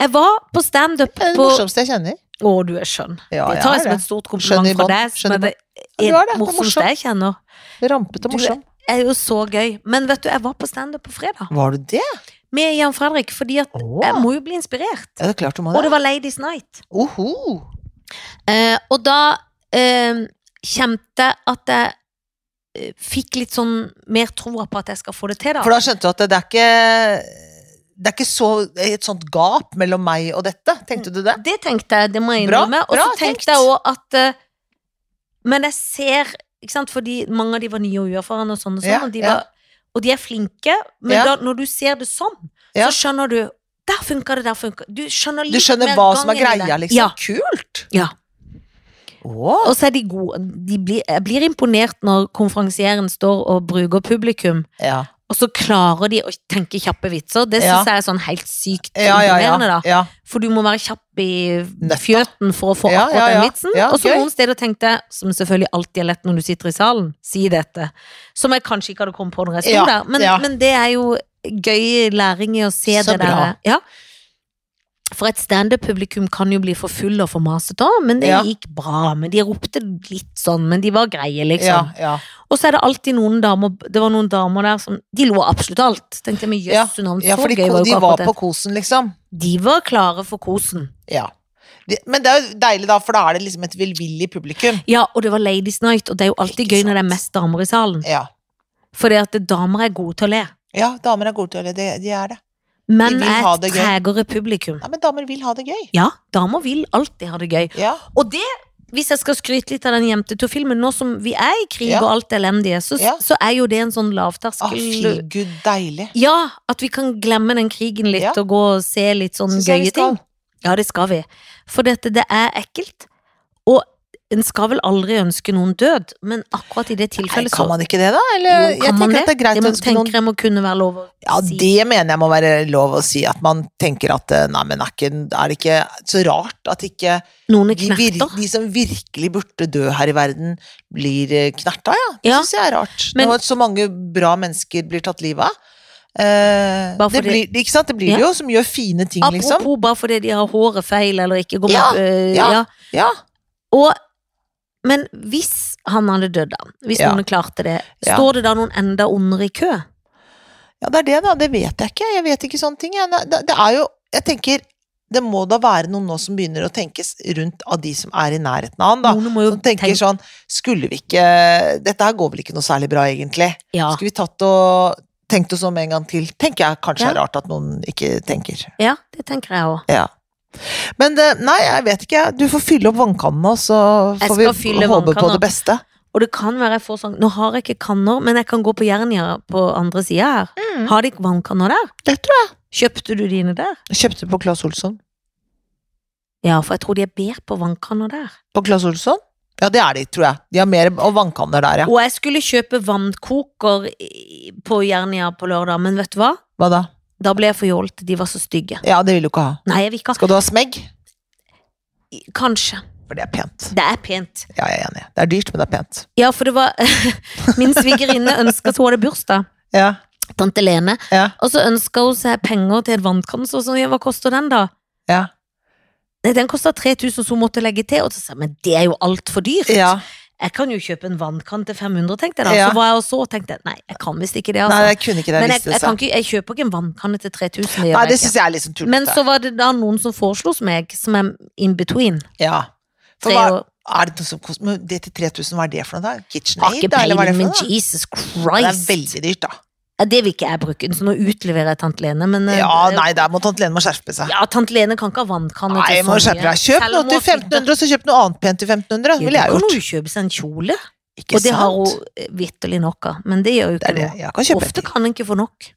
Speaker 2: Jeg var på standup
Speaker 1: Det er det
Speaker 2: på
Speaker 1: morsomste jeg kjenner.
Speaker 2: Å, du er skjønn.
Speaker 1: Ja,
Speaker 2: Det
Speaker 1: jeg
Speaker 2: tar
Speaker 1: er
Speaker 2: jeg som
Speaker 1: det.
Speaker 2: et stort
Speaker 1: Skjønn i
Speaker 2: kompliment fra
Speaker 1: bånn, skjønn
Speaker 2: deg.
Speaker 1: i
Speaker 2: Som er det,
Speaker 1: Ja,
Speaker 2: er
Speaker 1: du er det. Det er
Speaker 2: morsomste
Speaker 1: morsomt.
Speaker 2: jeg kjenner.
Speaker 1: Rampete og
Speaker 2: Du er-
Speaker 1: morsom.
Speaker 2: Jeg er jo så gøy. Men vet du, jeg var på standup på fredag
Speaker 1: Var du det?
Speaker 2: med Jan Fredrik, fordi at
Speaker 1: Å,
Speaker 2: jeg må jo bli inspirert.
Speaker 1: ja, det er klart du må
Speaker 2: Og
Speaker 1: det.
Speaker 2: det var Ladies Night.
Speaker 1: Oho.
Speaker 2: Eh, og da eh, kjente jeg at jeg eh, fikk litt sånn mer troa på at jeg skal få det til, da.
Speaker 1: For da skjønte du at det er ikke Det er ikke så, et sånt gap mellom meg og dette. Tenkte du det?
Speaker 2: det tenkte jeg, det må jeg
Speaker 1: Bra,
Speaker 2: innrømme. Og så
Speaker 1: bra tenkt.
Speaker 2: tenkte jeg òg at eh, Men jeg ser, ikke sant, fordi mange av de var nye og uerfarne og sånn og sånn,
Speaker 1: Ja,
Speaker 2: og, de
Speaker 1: ja.
Speaker 2: var, og de er flinke, men
Speaker 1: Ja.
Speaker 2: da, når du ser det sånn,
Speaker 1: Ja.
Speaker 2: så skjønner du Der funka det, der funka Du skjønner litt
Speaker 1: Du skjønner
Speaker 2: mer
Speaker 1: hva som er
Speaker 2: gangen i det.
Speaker 1: greia, liksom?
Speaker 2: Ja.
Speaker 1: Kult!
Speaker 2: Ja.
Speaker 1: Å,
Speaker 2: Og så er de gode. De blir, jeg blir imponert når konferansieren står og bruker publikum.
Speaker 1: ja.
Speaker 2: Og så klarer de å tenke kjappe vitser. Det
Speaker 1: Ja.
Speaker 2: syns jeg er sånn helt sykt
Speaker 1: Ja, ja,
Speaker 2: imponerende,
Speaker 1: ja.
Speaker 2: da.
Speaker 1: ja.
Speaker 2: For du må være kjapp i
Speaker 1: Nøtta.
Speaker 2: fjøten for å få
Speaker 1: Ja,
Speaker 2: akkurat
Speaker 1: ja, ja.
Speaker 2: den vitsen.
Speaker 1: Ja,
Speaker 2: og så
Speaker 1: gøy.
Speaker 2: noen steder tenkte jeg, som selvfølgelig alltid er lett når du sitter i salen, si dette. Som jeg kanskje ikke hadde kommet på når jeg sto
Speaker 1: Ja,
Speaker 2: der. Men,
Speaker 1: ja.
Speaker 2: men det er jo gøy læring i å se
Speaker 1: Så
Speaker 2: det
Speaker 1: bra.
Speaker 2: der. Ja. For et standup-publikum kan jo bli for full og for masete òg, men det
Speaker 1: Ja.
Speaker 2: gikk bra. Men de ropte litt sånn, men de var greie,
Speaker 1: ja,
Speaker 2: liksom.
Speaker 1: ja.
Speaker 2: Og så er det alltid noen damer Det var noen damer der som De lo av absolutt alt. Tenkte jeg, men
Speaker 1: Ja.
Speaker 2: jøss, hun har en
Speaker 1: ja
Speaker 2: så
Speaker 1: for de,
Speaker 2: gøy var jo
Speaker 1: de
Speaker 2: ikke
Speaker 1: var på
Speaker 2: akkurat det.
Speaker 1: kosen, liksom.
Speaker 2: De var klare for kosen.
Speaker 1: Ja. De, men det er jo deilig, da, for da er det liksom et velvillig publikum.
Speaker 2: Ja, og det var Ladies Night, og det er jo alltid
Speaker 1: Ikke
Speaker 2: gøy når det er
Speaker 1: sant.
Speaker 2: mest damer i salen.
Speaker 1: Ja.
Speaker 2: Fordi at damer er gode til å le,
Speaker 1: ja, damer er gode til å le. De, de er det.
Speaker 2: men
Speaker 1: vil
Speaker 2: er
Speaker 1: ha
Speaker 2: et
Speaker 1: det gøy.
Speaker 2: tregere publikum.
Speaker 1: Nei, men damer vil ha det gøy.
Speaker 2: Ja, damer vil alltid ha det gøy.
Speaker 1: Ja.
Speaker 2: Og det, hvis jeg skal skryte litt av den Jentetur-filmen, nå som vi er i krig
Speaker 1: Ja.
Speaker 2: og alt det elendige, så,
Speaker 1: Ja.
Speaker 2: så er jo det en sånn
Speaker 1: Å, fy
Speaker 2: lavterskel
Speaker 1: gud, deilig.
Speaker 2: Ja, at vi kan glemme den krigen litt
Speaker 1: Ja.
Speaker 2: og gå og se litt sånn
Speaker 1: Synes jeg vi
Speaker 2: gøye
Speaker 1: skal.
Speaker 2: ting. Ja, det skal vi. For dette, det er ekkelt. Og en skal vel aldri ønske noen død, men akkurat i det
Speaker 1: Nei,
Speaker 2: tilfellet så
Speaker 1: kan man ikke det, da? Eller,
Speaker 2: Jo,
Speaker 1: jeg
Speaker 2: kan man
Speaker 1: tenker
Speaker 2: det?
Speaker 1: at det er greit
Speaker 2: Det
Speaker 1: å
Speaker 2: må,
Speaker 1: ønske noen
Speaker 2: tenker jeg må kunne være lov å
Speaker 1: Ja,
Speaker 2: si.
Speaker 1: det mener jeg må være lov å si. At man tenker at eh, nei, men er, ikke, er det ikke så rart at ikke
Speaker 2: Noen er
Speaker 1: de, vir
Speaker 2: knerter.
Speaker 1: de som virkelig burde dø her i verden, blir eh, knerta, ja. Det
Speaker 2: Ja.
Speaker 1: synes syns jeg er rart.
Speaker 2: Men-
Speaker 1: Når så mange bra mennesker blir tatt livet av. Eh,
Speaker 2: Bare
Speaker 1: det, blir,
Speaker 2: fordi-
Speaker 1: ikke sant? det blir
Speaker 2: Ja.
Speaker 1: det jo, som gjør fine ting,
Speaker 2: Apropos
Speaker 1: liksom.
Speaker 2: bare fordi de har håret feil eller ikke går med
Speaker 1: Ja,
Speaker 2: øh,
Speaker 1: ja.
Speaker 2: ja.
Speaker 1: Ja,
Speaker 2: Og, Men hvis han hadde dødd, da, hvis
Speaker 1: Ja.
Speaker 2: noen klarte det,
Speaker 1: Ja.
Speaker 2: står det da noen enda ondere i kø?
Speaker 1: ja, det er det, da. Det vet jeg ikke. Jeg vet ikke sånne ting. jeg. Nei, Det, det er jo Jeg tenker det må da være noen nå som begynner å tenkes rundt av de som er i nærheten av han, da.
Speaker 2: Noen må jo
Speaker 1: Som tenker
Speaker 2: tenke
Speaker 1: sånn Skulle vi ikke Dette her går vel ikke noe særlig bra, egentlig?
Speaker 2: ja.
Speaker 1: Skulle vi tatt og tenkt oss om en gang til. Tenker jeg kanskje er rart at noen ikke tenker.
Speaker 2: Ja, det tenker jeg òg.
Speaker 1: Ja. Men eh, nei, jeg vet ikke. jeg. Du får fylle opp vannkannene, og så
Speaker 2: Jeg
Speaker 1: får vi
Speaker 2: skal fylle
Speaker 1: håpe på
Speaker 2: vannkanna.
Speaker 1: det beste.
Speaker 2: Og det kan være jeg får sånn Nå har jeg ikke kanner, men jeg kan gå på Jernia på andre sida her. Har de ikke vannkanner der?
Speaker 1: Det tror jeg.
Speaker 2: Kjøpte du dine der?
Speaker 1: Kjøpte på Claes Olsson.
Speaker 2: Ja, for jeg tror de er bedre på vannkanner der.
Speaker 1: På Claes Olsson? Ja, det er de, tror jeg. De har mer og vannkanner der, ja.
Speaker 2: Og jeg skulle kjøpe vannkoker i- på Jernia på lørdag, men vet du hva?
Speaker 1: Hva da?
Speaker 2: Da ble jeg for jålete, de var så stygge.
Speaker 1: Ja, det vil du ikke ha.
Speaker 2: Nei, jeg vil ikke ha
Speaker 1: Skal du ha smegg?
Speaker 2: Kanskje.
Speaker 1: For det er pent.
Speaker 2: Det er pent.
Speaker 1: Ja, jeg er enig. Det er dyrt, men det er pent.
Speaker 2: Ja, for det var Min svigerinne ønska at hun hadde bursdag.
Speaker 1: Ja,
Speaker 2: Tante Lene.
Speaker 1: ja,
Speaker 2: Og så ønska hun seg penger til et vannkanne. Så sa hun, ja, hva koster den, da?
Speaker 1: ja.
Speaker 2: Nei, den kosta 3000, så hun måtte legge til. Og så sa jeg, men det er jo altfor dyrt.
Speaker 1: ja.
Speaker 2: Jeg kan jo kjøpe en vannkann til 500, tenkte jeg da.
Speaker 1: Ja.
Speaker 2: Så var jeg og så, og tenkte jeg, nei, jeg kan visst ikke det,
Speaker 1: Nei,
Speaker 2: altså.
Speaker 1: jeg kunne ikke det.
Speaker 2: men jeg,
Speaker 1: visste
Speaker 2: jeg, kan
Speaker 1: seg.
Speaker 2: ikke, jeg kjøper ikke en vannkanne til 3000. Det gjør
Speaker 1: Nei, det
Speaker 2: jeg ikke.
Speaker 1: syns jeg er litt sånn
Speaker 2: Men
Speaker 1: tullete.
Speaker 2: så var det da noen som foreslo som meg, som er in between.
Speaker 1: Ja. For
Speaker 2: Tre
Speaker 1: hva,
Speaker 2: år.
Speaker 1: er det noe som koster men Det til 3000, hva er det for noe, da?
Speaker 2: Har
Speaker 1: KitchenAid,
Speaker 2: ikke
Speaker 1: da? Eller hva er
Speaker 2: peiling,
Speaker 1: det for
Speaker 2: men
Speaker 1: noe?
Speaker 2: Jesus
Speaker 1: da? Det er
Speaker 2: Christ. Det,
Speaker 1: veldig dyrt, da.
Speaker 2: ja, det vil ikke jeg bruke, så nå utleverer jeg tante Lene. Men eh,
Speaker 1: Ja, nei, der må tante Lene må skjerpe seg.
Speaker 2: ja, tante Lene kan ikke ha vannkanne
Speaker 1: Nei,
Speaker 2: til
Speaker 1: må
Speaker 2: så
Speaker 1: skjerpe deg.
Speaker 2: mye.
Speaker 1: Kjøp
Speaker 2: Selv
Speaker 1: noe
Speaker 2: om
Speaker 1: til
Speaker 2: hun har flyttet-
Speaker 1: 1500, og så kjøp noe annet pent til 1500. Det
Speaker 2: Ja,
Speaker 1: ville jeg
Speaker 2: da kan
Speaker 1: gjort.
Speaker 2: hun jo kjøpe seg en kjole,
Speaker 1: Ikke
Speaker 2: og det har
Speaker 1: sant?
Speaker 2: hun eh, vitterlig nok av. Men det gjør
Speaker 1: Det
Speaker 2: jo ikke
Speaker 1: er det.
Speaker 2: noe.
Speaker 1: Jeg kan kjøpe
Speaker 2: Ofte
Speaker 1: ting.
Speaker 2: kan en ikke få nok.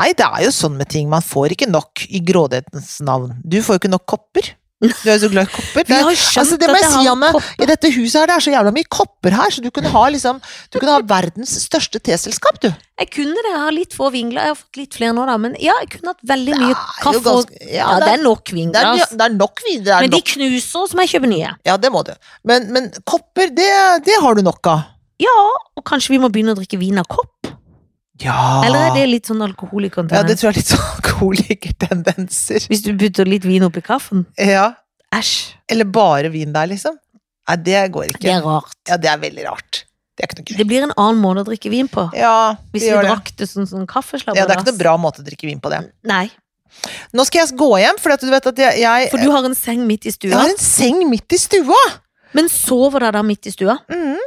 Speaker 1: Nei, det er jo sånn med ting. Man får ikke nok i grådighetens navn. Du får jo ikke nok kopper. Du er jo så glad i kopper.
Speaker 2: Vi
Speaker 1: Det,
Speaker 2: har
Speaker 1: er-
Speaker 2: skjønt
Speaker 1: altså, det
Speaker 2: at
Speaker 1: må
Speaker 2: det
Speaker 1: jeg si,
Speaker 2: har
Speaker 1: Anne.
Speaker 2: kopp-
Speaker 1: I dette huset her, det er så jævla mye kopper her, så du kunne ha liksom Du kunne ha verdens største teselskap, du.
Speaker 2: Jeg kunne det, jeg har litt få vingler, jeg har fått litt flere nå da, men ja, jeg kunne hatt veldig
Speaker 1: Det
Speaker 2: mye
Speaker 1: er jo
Speaker 2: kaffe og
Speaker 1: ganske-
Speaker 2: ja,
Speaker 1: Ja,
Speaker 2: det
Speaker 1: det er,
Speaker 2: er nok
Speaker 1: det
Speaker 2: vingler,
Speaker 1: er,
Speaker 2: altså.
Speaker 1: det er nok videre. Det er
Speaker 2: Men de
Speaker 1: nok.
Speaker 2: knuser, så må jeg kjøpe nye.
Speaker 1: Ja, det må du. Men, men kopper, det, det har du nok av.
Speaker 2: Ja, og kanskje vi må begynne å drikke vin av kopp?
Speaker 1: Ja.
Speaker 2: Eller er det litt sånn alkoholikontinent?
Speaker 1: Ah. ja, det tror jeg er litt sånn alkoholikertendenser.
Speaker 2: Hvis du putter litt vin oppi kaffen?
Speaker 1: Ja.
Speaker 2: Æsj,
Speaker 1: Eller bare vin der, liksom. Nei, det går ikke.
Speaker 2: det er rart.
Speaker 1: Ja, det er veldig rart. Det er ikke noe gøy.
Speaker 2: Det blir en annen måte å drikke vin på.
Speaker 1: Ja, det
Speaker 2: Hvis vi
Speaker 1: gjør det.
Speaker 2: drakk det sånn, sånn kaffeslabberas.
Speaker 1: Ja, det er ikke noe bra måte å drikke vin på det.
Speaker 2: Nei,
Speaker 1: Nå skal jeg gå hjem, for at du vet at jeg, jeg,
Speaker 2: for du har en seng midt i
Speaker 1: jeg
Speaker 2: stua,
Speaker 1: har en seng midt i stua.
Speaker 2: men sover deg da midt i stua?
Speaker 1: Mm,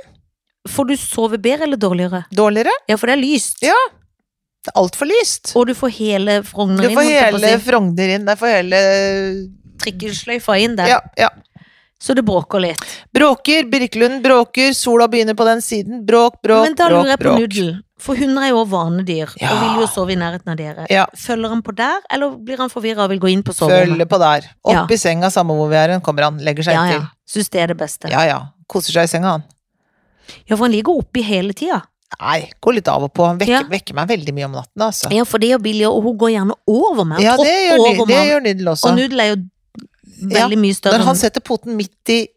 Speaker 2: Får du sove bedre eller dårligere?
Speaker 1: dårligere.
Speaker 2: Ja, for det er lyst.
Speaker 1: Ja. Det er altfor lyst.
Speaker 2: Og du får hele
Speaker 1: Du
Speaker 2: Frogner inn,
Speaker 1: får
Speaker 2: holdt jeg på å
Speaker 1: hele
Speaker 2: si.
Speaker 1: Frogner inn. Jeg får hele
Speaker 2: trikkelsløyfa inn der,
Speaker 1: Ja, ja.
Speaker 2: så det bråker litt.
Speaker 1: Bråker, Birkelund bråker, sola begynner på den siden. Bråk, bråk,
Speaker 2: Men da
Speaker 1: bråk.
Speaker 2: lurer jeg på
Speaker 1: bråk.
Speaker 2: Nudel, for hunder er jo også vanedyr
Speaker 1: Ja.
Speaker 2: og vil jo sove i nærheten av dere.
Speaker 1: Ja.
Speaker 2: Følger han på der, eller blir han forvirra og vil gå inn på soverommet?
Speaker 1: Følge på der. Opp
Speaker 2: Ja.
Speaker 1: i senga, samme hvor vi er hen, kommer han. Legger seg
Speaker 2: Ja, ja.
Speaker 1: inntil.
Speaker 2: Syns det er det beste. Ja.
Speaker 1: Ja ja. Koser seg i senga, han.
Speaker 2: for han ligger oppi hele tida.
Speaker 1: Nei, går litt av og på. Han vekker,
Speaker 2: Ja.
Speaker 1: vekker meg veldig mye om natten, altså.
Speaker 2: Ja, for det er Billy, og hun går gjerne over meg.
Speaker 1: Ja, det
Speaker 2: tråkker
Speaker 1: gjør, Ny-
Speaker 2: over
Speaker 1: det
Speaker 2: meg.
Speaker 1: gjør Nydel også.
Speaker 2: Og Nudel er jo
Speaker 1: Ja,
Speaker 2: veldig mye større
Speaker 1: Når han setter poten midt i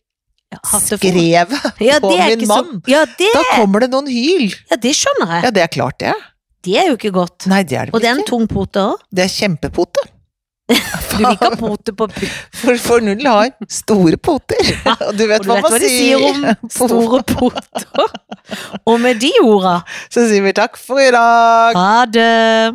Speaker 2: hattefoten.
Speaker 1: skrevet
Speaker 2: Ja,
Speaker 1: på
Speaker 2: det er
Speaker 1: min
Speaker 2: ikke så
Speaker 1: mann,
Speaker 2: ja det,
Speaker 1: da kommer det noen hyl.
Speaker 2: ja, det skjønner jeg.
Speaker 1: Ja, det er klart det.
Speaker 2: Det er jo ikke godt.
Speaker 1: Nei, det er det
Speaker 2: Og det er
Speaker 1: vel
Speaker 2: en
Speaker 1: ikke.
Speaker 2: tung pote òg.
Speaker 1: Det er kjempepote.
Speaker 2: Du vil ikke ha pote på pupp.
Speaker 1: For, for Nudel har store poter. Og du vet
Speaker 2: Og du
Speaker 1: hva man
Speaker 2: vet hva de sier om store poter. Og med de orda
Speaker 1: Så sier vi takk for i dag.
Speaker 2: Ha det!